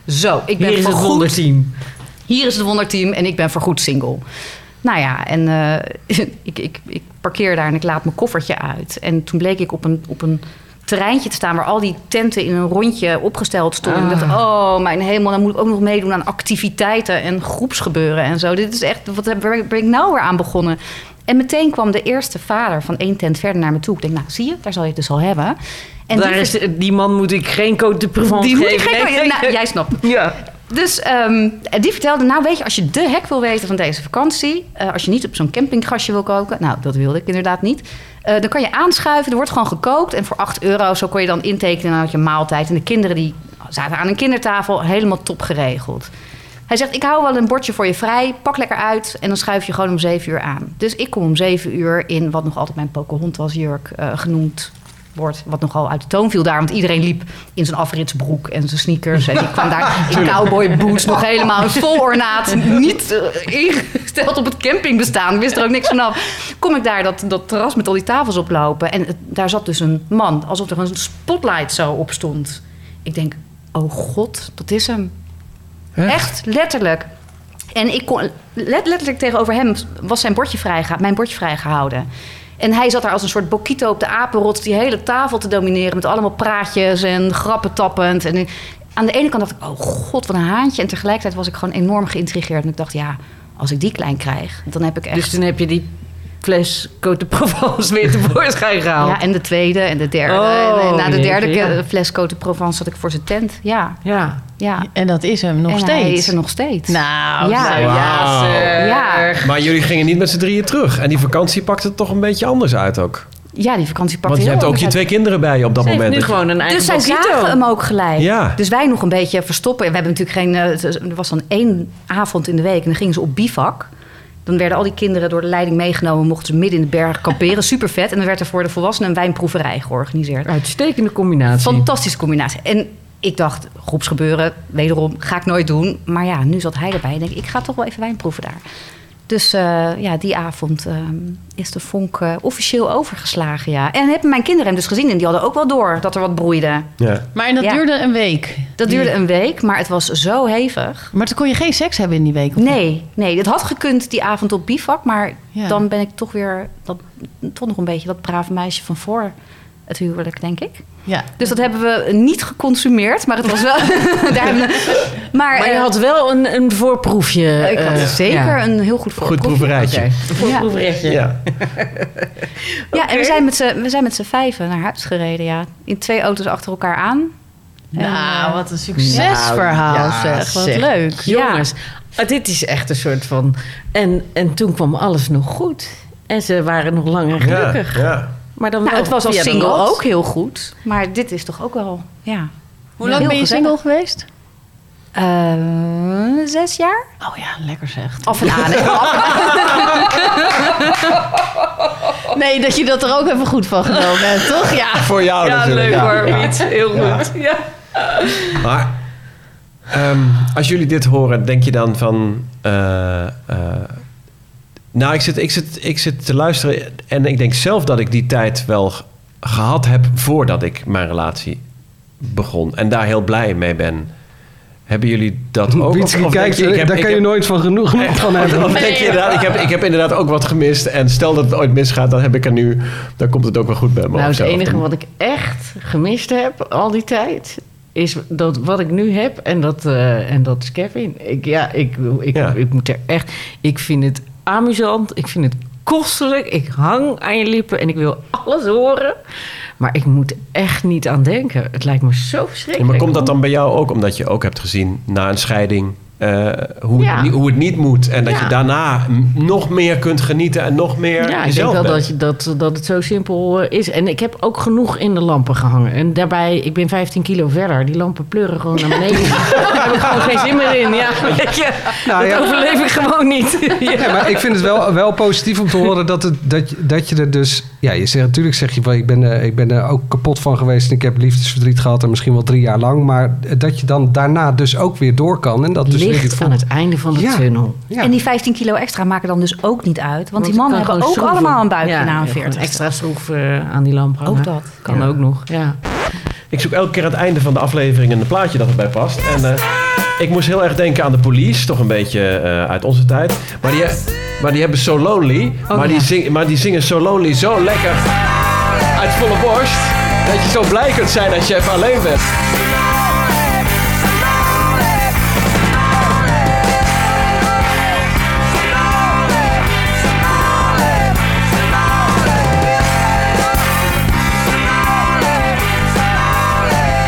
S1: Zo, ik ben
S3: Hier is het
S1: voorgoed
S3: wonderteam.
S1: hier is het wonderteam en ik ben voorgoed single. Nou ja, en eh, [laughs] ik, ik, ik parkeer daar en ik laat mijn koffertje uit. En toen bleek ik op een, op een terreintje te staan waar al die tenten in een rondje opgesteld stonden.
S3: Ah.
S1: Ik dacht, oh mijn hemel, dan moet ik ook nog meedoen aan activiteiten en groepsgebeuren en zo. Dit is echt, wat heb, waar ben ik nou weer aan begonnen? En meteen kwam de eerste vader van één tent verder naar me toe. Ik denk, nou zie je, daar zal je het dus al hebben. En
S3: Daar
S1: die
S3: is, die man moet ik geen Côte de Provence
S1: die moet ik
S3: geven.
S1: geen-
S3: Nee, nee,
S1: Nou,
S3: nee.
S1: jij snapt.
S3: Ja.
S1: Dus ehm, die vertelde, nou weet je, als je de hek wil weten van deze vakantie... eh, als je niet op zo'n campinggasje wil koken... nou, dat wilde ik inderdaad niet... eh, dan kan je aanschuiven, er wordt gewoon gekookt... en voor 8 euro zo kon je dan intekenen en dan had je een maaltijd. En de kinderen die zaten aan een kindertafel, helemaal top geregeld. Hij zegt, ik hou wel een bordje voor je vrij, pak lekker uit... en dan schuif je gewoon om 7 uur aan. Dus ik kom om 7 uur in wat nog altijd mijn Pocahontas-jurk eh, genoemd wordt... wat nogal uit de toon viel daar, want iedereen liep in zijn afritsbroek en zijn sneakers... en ik kwam daar in cowboy boots nog helemaal in vol ornaat... niet eh, ingesteld op het campingbestaan, wist er ook niks vanaf. Kom ik daar dat, dat terras met al die tafels oplopen... en het- daar zat dus een man, alsof er een spotlight zo op stond. Ik denk, oh god, dat is hem. Echt letterlijk. En ik kon let- letterlijk tegenover hem was zijn bordje vrijgehouden, mijn bordje vrijgehouden. En hij zat daar als een soort boquito op de apenrots die hele tafel te domineren met allemaal praatjes en grappen tappend. En aan de ene kant dacht ik, oh god, wat een haantje. En tegelijkertijd was ik gewoon enorm geïntrigeerd. En ik dacht, ja, als ik die klein krijg, dan heb ik echt...
S3: Dus toen heb je die fles Côte de Provence weer tevoorschijn gehaald.
S1: ja, en de tweede en de derde.
S3: nou- Oh,
S1: en, eh, na de
S3: jeetje,
S1: derde
S3: ja.
S1: keer fles Côte de Provence zat ik voor zijn tent. Ja,
S3: Ja.
S1: ja.
S2: En dat is hem nog
S1: en
S2: steeds.
S1: hij is er nog steeds.
S2: Nou,
S1: Ja.
S3: Oh
S2: nou,
S5: Wauw.
S1: ja.
S5: Maar jullie gingen niet met z'n drieën terug. En die vakantie pakte het toch een beetje anders uit ook.
S1: Ja, die vakantie pakte
S5: Want je
S1: heel
S5: hebt ook
S1: anders
S5: je
S1: uit.
S5: twee kinderen bij je op dat
S3: Ze heeft
S5: moment.
S3: nu gewoon een eigen
S1: Dus zij
S3: Bokito.
S1: zagen hem ook gelijk.
S5: Ja.
S1: Dus wij nog een beetje verstoppen. We hebben natuurlijk geen... eh, het- Er was dan één avond in de week en dan gingen ze op bivak. Dan werden al die kinderen door de leiding meegenomen. Mochten ze midden in de berg kamperen. [laughs] Super vet. En dan werd er voor de volwassenen een wijnproeverij georganiseerd.
S3: Uitstekende combinatie.
S1: Fantastische combinatie. En ik dacht, groepsgebeuren, wederom, ga ik nooit doen. Maar ja, nu zat hij erbij. En denk ik, ik ga toch wel even wijn proeven daar. Dus eh, ja, die avond eh, is de vonk eh, officieel overgeslagen, ja. En hebben mijn kinderen hem dus gezien en die hadden ook wel door dat er wat broeide.
S5: Ja.
S2: Maar en dat
S1: Ja.
S2: duurde een week.
S1: Dat duurde een week, maar het was zo hevig.
S2: Maar toen kon je geen seks hebben in die week. of
S1: Nee, nee, het had gekund die avond op bivak, maar
S2: Ja.
S1: dan ben ik toch weer dat, toch nog een beetje dat brave meisje van voor het huwelijk, denk ik.
S2: Ja.
S1: Dus dat hebben we niet geconsumeerd, maar het was
S3: [laughs]
S1: wel. [laughs] daar hebben we, maar
S3: Maar je
S1: eh,
S3: had wel een, een voorproefje.
S1: ik had
S3: eh,
S1: zeker
S3: ja.
S1: een heel goed
S5: Goed
S1: voorproefje.
S5: proeverijtje.
S1: Ja.
S3: Voorproefrechtje.
S5: Ja.
S1: Ja, en we zijn, met z'n, we zijn met z'n vijven naar huis gereden, ja. In twee auto's achter elkaar aan.
S2: Nou,
S1: En,
S2: wat een succesverhaal
S3: Nou, ja,
S2: zeg. Wat
S3: zeg.
S2: leuk.
S3: Jongens, ah, dit is echt een soort van... En, en toen kwam alles nog goed. En ze waren nog langer gelukkig.
S5: Ja, ja.
S3: Maar dan
S1: Nou,
S3: wel
S1: het was als
S3: via de
S1: single
S3: lat.
S1: ook heel goed. Maar dit is toch ook wel, ja.
S2: Hoe lang
S1: Heel
S2: ben je
S1: gezellig.
S2: single geweest?
S1: Eh, zes jaar?
S2: Oh ja, lekker zeg.
S1: Af en aan. hè.
S2: [laughs] Nee, dat je dat er ook even goed van genomen hebt, toch? Ja.
S5: Voor jou
S10: Ja,
S5: natuurlijk.
S10: leuk
S5: Ja,
S10: hoor,
S5: ja.
S10: Piet. Heel goed. Ja.
S5: Maar ehm, als jullie dit horen, denk je dan van. eh, eh, nou, ik zit, ik, zit, ik zit te luisteren en ik denk zelf dat ik die tijd wel g- gehad heb voordat ik mijn relatie begon. En daar heel blij mee ben. Hebben jullie dat ook?
S4: Piet, die kijkt,
S5: denk
S4: daar
S5: ik
S4: kan je
S5: heb-
S4: nooit van genoeg, genoeg van
S5: [laughs] Of
S4: hebben. Nou
S5: denk je inderdaad, ik heb, ik heb inderdaad ook wat gemist. En stel dat het ooit misgaat, dan heb ik er nu... Dan komt het ook wel goed bij me.
S3: Nou,
S5: of
S3: het
S5: zo.
S3: enige wat ik echt gemist heb al die tijd... is dat wat ik nu heb en dat, eh, en dat is Kevin. Ik, ja, ik, ik,
S5: Ja.
S3: ik moet er echt... Ik vind het amusant, ik vind het kostelijk. Ik hang aan je lippen en ik wil alles horen. Maar ik moet er echt niet aan denken. Het lijkt me zo
S5: Ja,
S3: verschrikkelijk.
S5: maar komt dat dan bij jou ook omdat je ook hebt gezien na een scheiding eh, hoe,
S3: Ja.
S5: het, niet- hoe het niet moet en dat
S3: Ja.
S5: je daarna m- nog meer kunt genieten en nog meer
S3: Ja, ik denk
S5: jezelf
S3: wel
S5: bent?
S3: dat, je, dat, dat het zo simpel eh, is. En ik heb ook genoeg in de lampen gehangen. En daarbij, ik ben 15 kilo verder. Die lampen pleuren gewoon naar beneden. Daar heb ik gewoon geen zin meer in. Ja, weet je.
S4: Nou,
S3: dat
S4: ja.
S3: overleef ik gewoon niet.
S4: Ja, maar ik vind het wel, wel positief om te horen dat, het, dat, je- dat je er dus... Ja, je zegt, natuurlijk zeg je wel, ik ben, eh, ik ben er ook kapot van geweest... en ik heb liefdesverdriet gehad en misschien wel drie jaar lang... maar dat je dan daarna dus ook weer door kan. En dat dus weer
S3: Licht
S4: die
S3: aan het einde van de
S4: Ja.
S3: tunnel.
S4: Ja.
S1: En die 15 kilo extra maken dan dus ook niet uit. Want,
S3: Want
S1: die
S3: ik
S1: mannen
S3: kan
S1: hebben ook
S3: gewoon schroeven.
S1: allemaal een buikje
S3: Ja,
S1: na een
S3: gewoon
S1: 40.
S3: Extra schroef eh, aan die lamp hangen.
S1: Ook dat.
S3: Kan ook nog, ja.
S5: Ik zoek elke keer aan het einde van de aflevering een plaatje dat erbij past. En eh, ik moest heel erg denken aan de police, toch een beetje eh, uit onze tijd. Maar die, maar die hebben So Lonely, maar, die
S3: Oh, ja.
S5: zing- maar die zingen So Lonely zo lekker uit volle borst... dat je zo blij kunt zijn als je even alleen bent.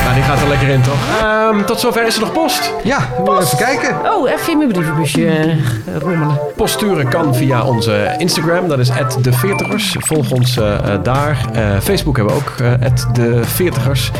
S5: Nou, die gaat er lekker in, toch? Ehm, tot zover is er nog post.
S4: Ja, we moeten even kijken.
S3: Oh, even in mijn brievenbusje eh, rommelen.
S5: Posturen kan via onze Instagram, dat is de 40ers. Volg ons eh, eh, daar. Eh, Facebook hebben we ook, eh, de 40ers.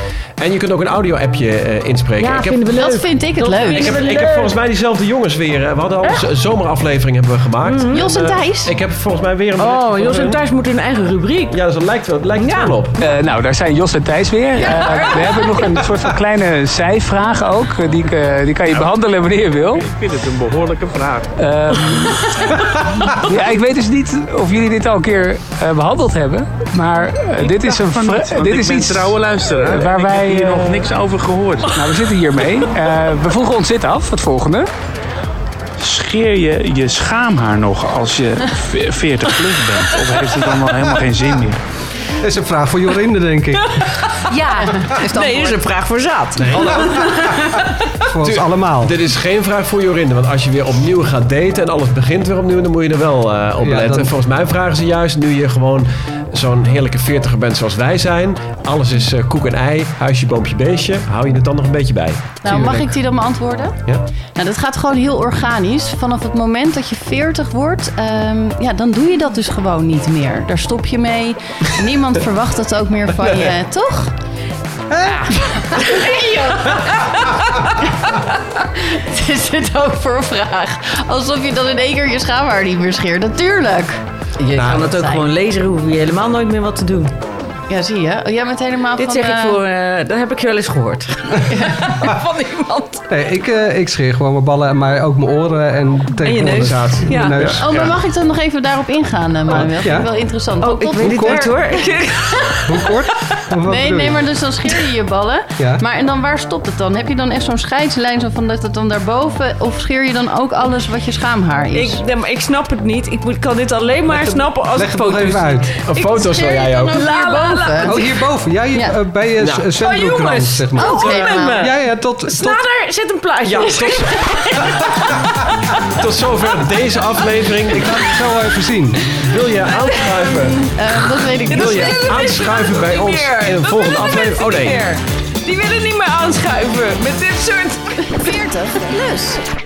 S5: En je kunt ook een audio-appje eh, inspreken.
S3: Ja,
S5: ik, heb,
S3: vinden we leuk.
S2: Dat vind ik het
S3: Dat
S2: leuk.
S5: ik, heb,
S3: we
S5: ik heb
S3: leuk.
S5: volgens mij diezelfde jongens weer. eh, we hadden al een z- zomeraflevering hebben we
S3: Mhm.
S5: gemaakt.
S2: Jos en
S5: eh,
S2: Thijs?
S5: ik heb volgens mij weer een. berichtje
S3: Oh,
S5: van
S3: Jos en
S5: hun.
S3: Thijs moeten hun eigen rubriek.
S5: Ja, dus dat lijkt wel, lijkt het
S3: Ja.
S5: wel op.
S11: Eh, nou, daar zijn Jos en Thijs weer. Eh, we hebben nog een soort van kleine zijvraag ook. eh, Die, ik, eh, die kan je behandelen wanneer je wil. Ik vind het een behoorlijke vraag. ja, ik weet dus niet of jullie dit al een keer eh, behandeld hebben. Maar eh, dit is een vra- dit is iets
S12: luisteren.
S11: eh, waar wij. eh,
S12: over gehoord.
S11: nou, we zitten hiermee. Eh we vroegen ons dit af, het volgende.
S12: Scheer je je schaamhaar nog als je ve- 40 plus bent? Of heeft het dan wel helemaal geen zin meer?
S4: Dat is een vraag voor Jorinde, denk ik.
S1: Ja, is dat
S10: Nee, is een vraag voor zaad.
S4: Voor ons allemaal.
S5: Dit is geen vraag voor Jorinde, want als je weer opnieuw gaat daten en alles begint weer opnieuw, dan moet je er wel eh, op
S4: Ja,
S5: letten.
S4: dan-
S5: Volgens mij vragen ze juist, nu je gewoon zo'n heerlijke veertiger bent zoals wij zijn, alles is eh, koek en ei, huisje, boompje, beestje, hou je het dan nog een beetje bij.
S2: Nou, mag ik die dan beantwoorden?
S5: Ja?
S2: Nou, dat gaat gewoon heel organisch. Vanaf het moment dat je 40 wordt, ehm, ja, dan doe je dat dus gewoon niet meer. Daar stop je mee. Niemand verwacht dat ook meer van je, toch? Het is [laughs] dit ook voor een vraag? Alsof je dan in één keer je schaamhaar niet meer scheert. Natuurlijk.
S5: Nou,
S3: Je kan het ook gewoon lezen, hoef je helemaal nooit meer wat te doen.
S2: Ja, zie je. Oh, Jij bent helemaal
S3: Dit
S2: van...
S3: zeg ik
S2: eh,
S3: voor, eh, dat heb ik wel eens gehoord.
S2: van iemand.
S4: Nee, ik, eh, ik scheer gewoon mijn ballen, maar ook mijn oren en tegencondensatie.
S2: Ja.
S4: Mijn neus.
S2: Oh, maar
S4: Ja.
S2: mag ik dan nog even daarop ingaan, eh, Manuel? Vind
S4: Ja.
S2: ik wel interessant. Oh,
S3: [laughs] ik weet het niet, hoor.
S4: Hoe kort? Of wat
S2: Nee,
S4: bedoel
S2: nee,
S4: je?
S2: maar dus dan scheer je je ballen.
S4: [laughs] Ja.
S2: Maar en dan waar stopt het dan? Heb je dan echt zo'n scheidslijn zo van dat het dan daarboven? Of scheer je dan ook alles wat je schaamhaar is?
S3: [laughs] Ik, nee, maar ik snap het niet. Ik moet, kan dit alleen maar snappen als ik
S4: Leg het nog
S3: foto's
S4: even
S3: zie.
S4: uit.
S5: Een
S3: Ik
S5: foto zou
S3: scheer je
S5: jij
S3: dan
S5: ook.
S3: ook la, la, la.
S4: Oh, hierboven. Jij
S2: Ja.
S4: eh, bij je
S5: Nou.
S4: nou.
S3: Oh, jongens.
S4: zeg maar.
S3: Oh,
S2: Oké,
S3: met
S2: nou.
S3: me.
S4: Ja, ja, tot... tot...
S3: Sla er, zet een plaatje.
S5: Ja,
S3: [laughs]
S5: tot, tot zover deze aflevering.
S4: Ik
S5: Ik
S4: laat het zo wel even zien.
S5: wil je aanschuiven.
S2: Eh, dat
S3: [laughs]
S2: weet ik
S5: Wil
S2: niet.
S3: willen
S5: je
S3: mensen
S5: aanschuiven bij
S3: niet
S5: ons
S3: meer.
S5: in een
S3: Dat
S5: volgende
S3: willen de
S5: aflevering? Oh
S3: mensen
S5: nee.
S3: niet meer. Die willen niet meer aanschuiven met dit soort...
S13: 40 plus.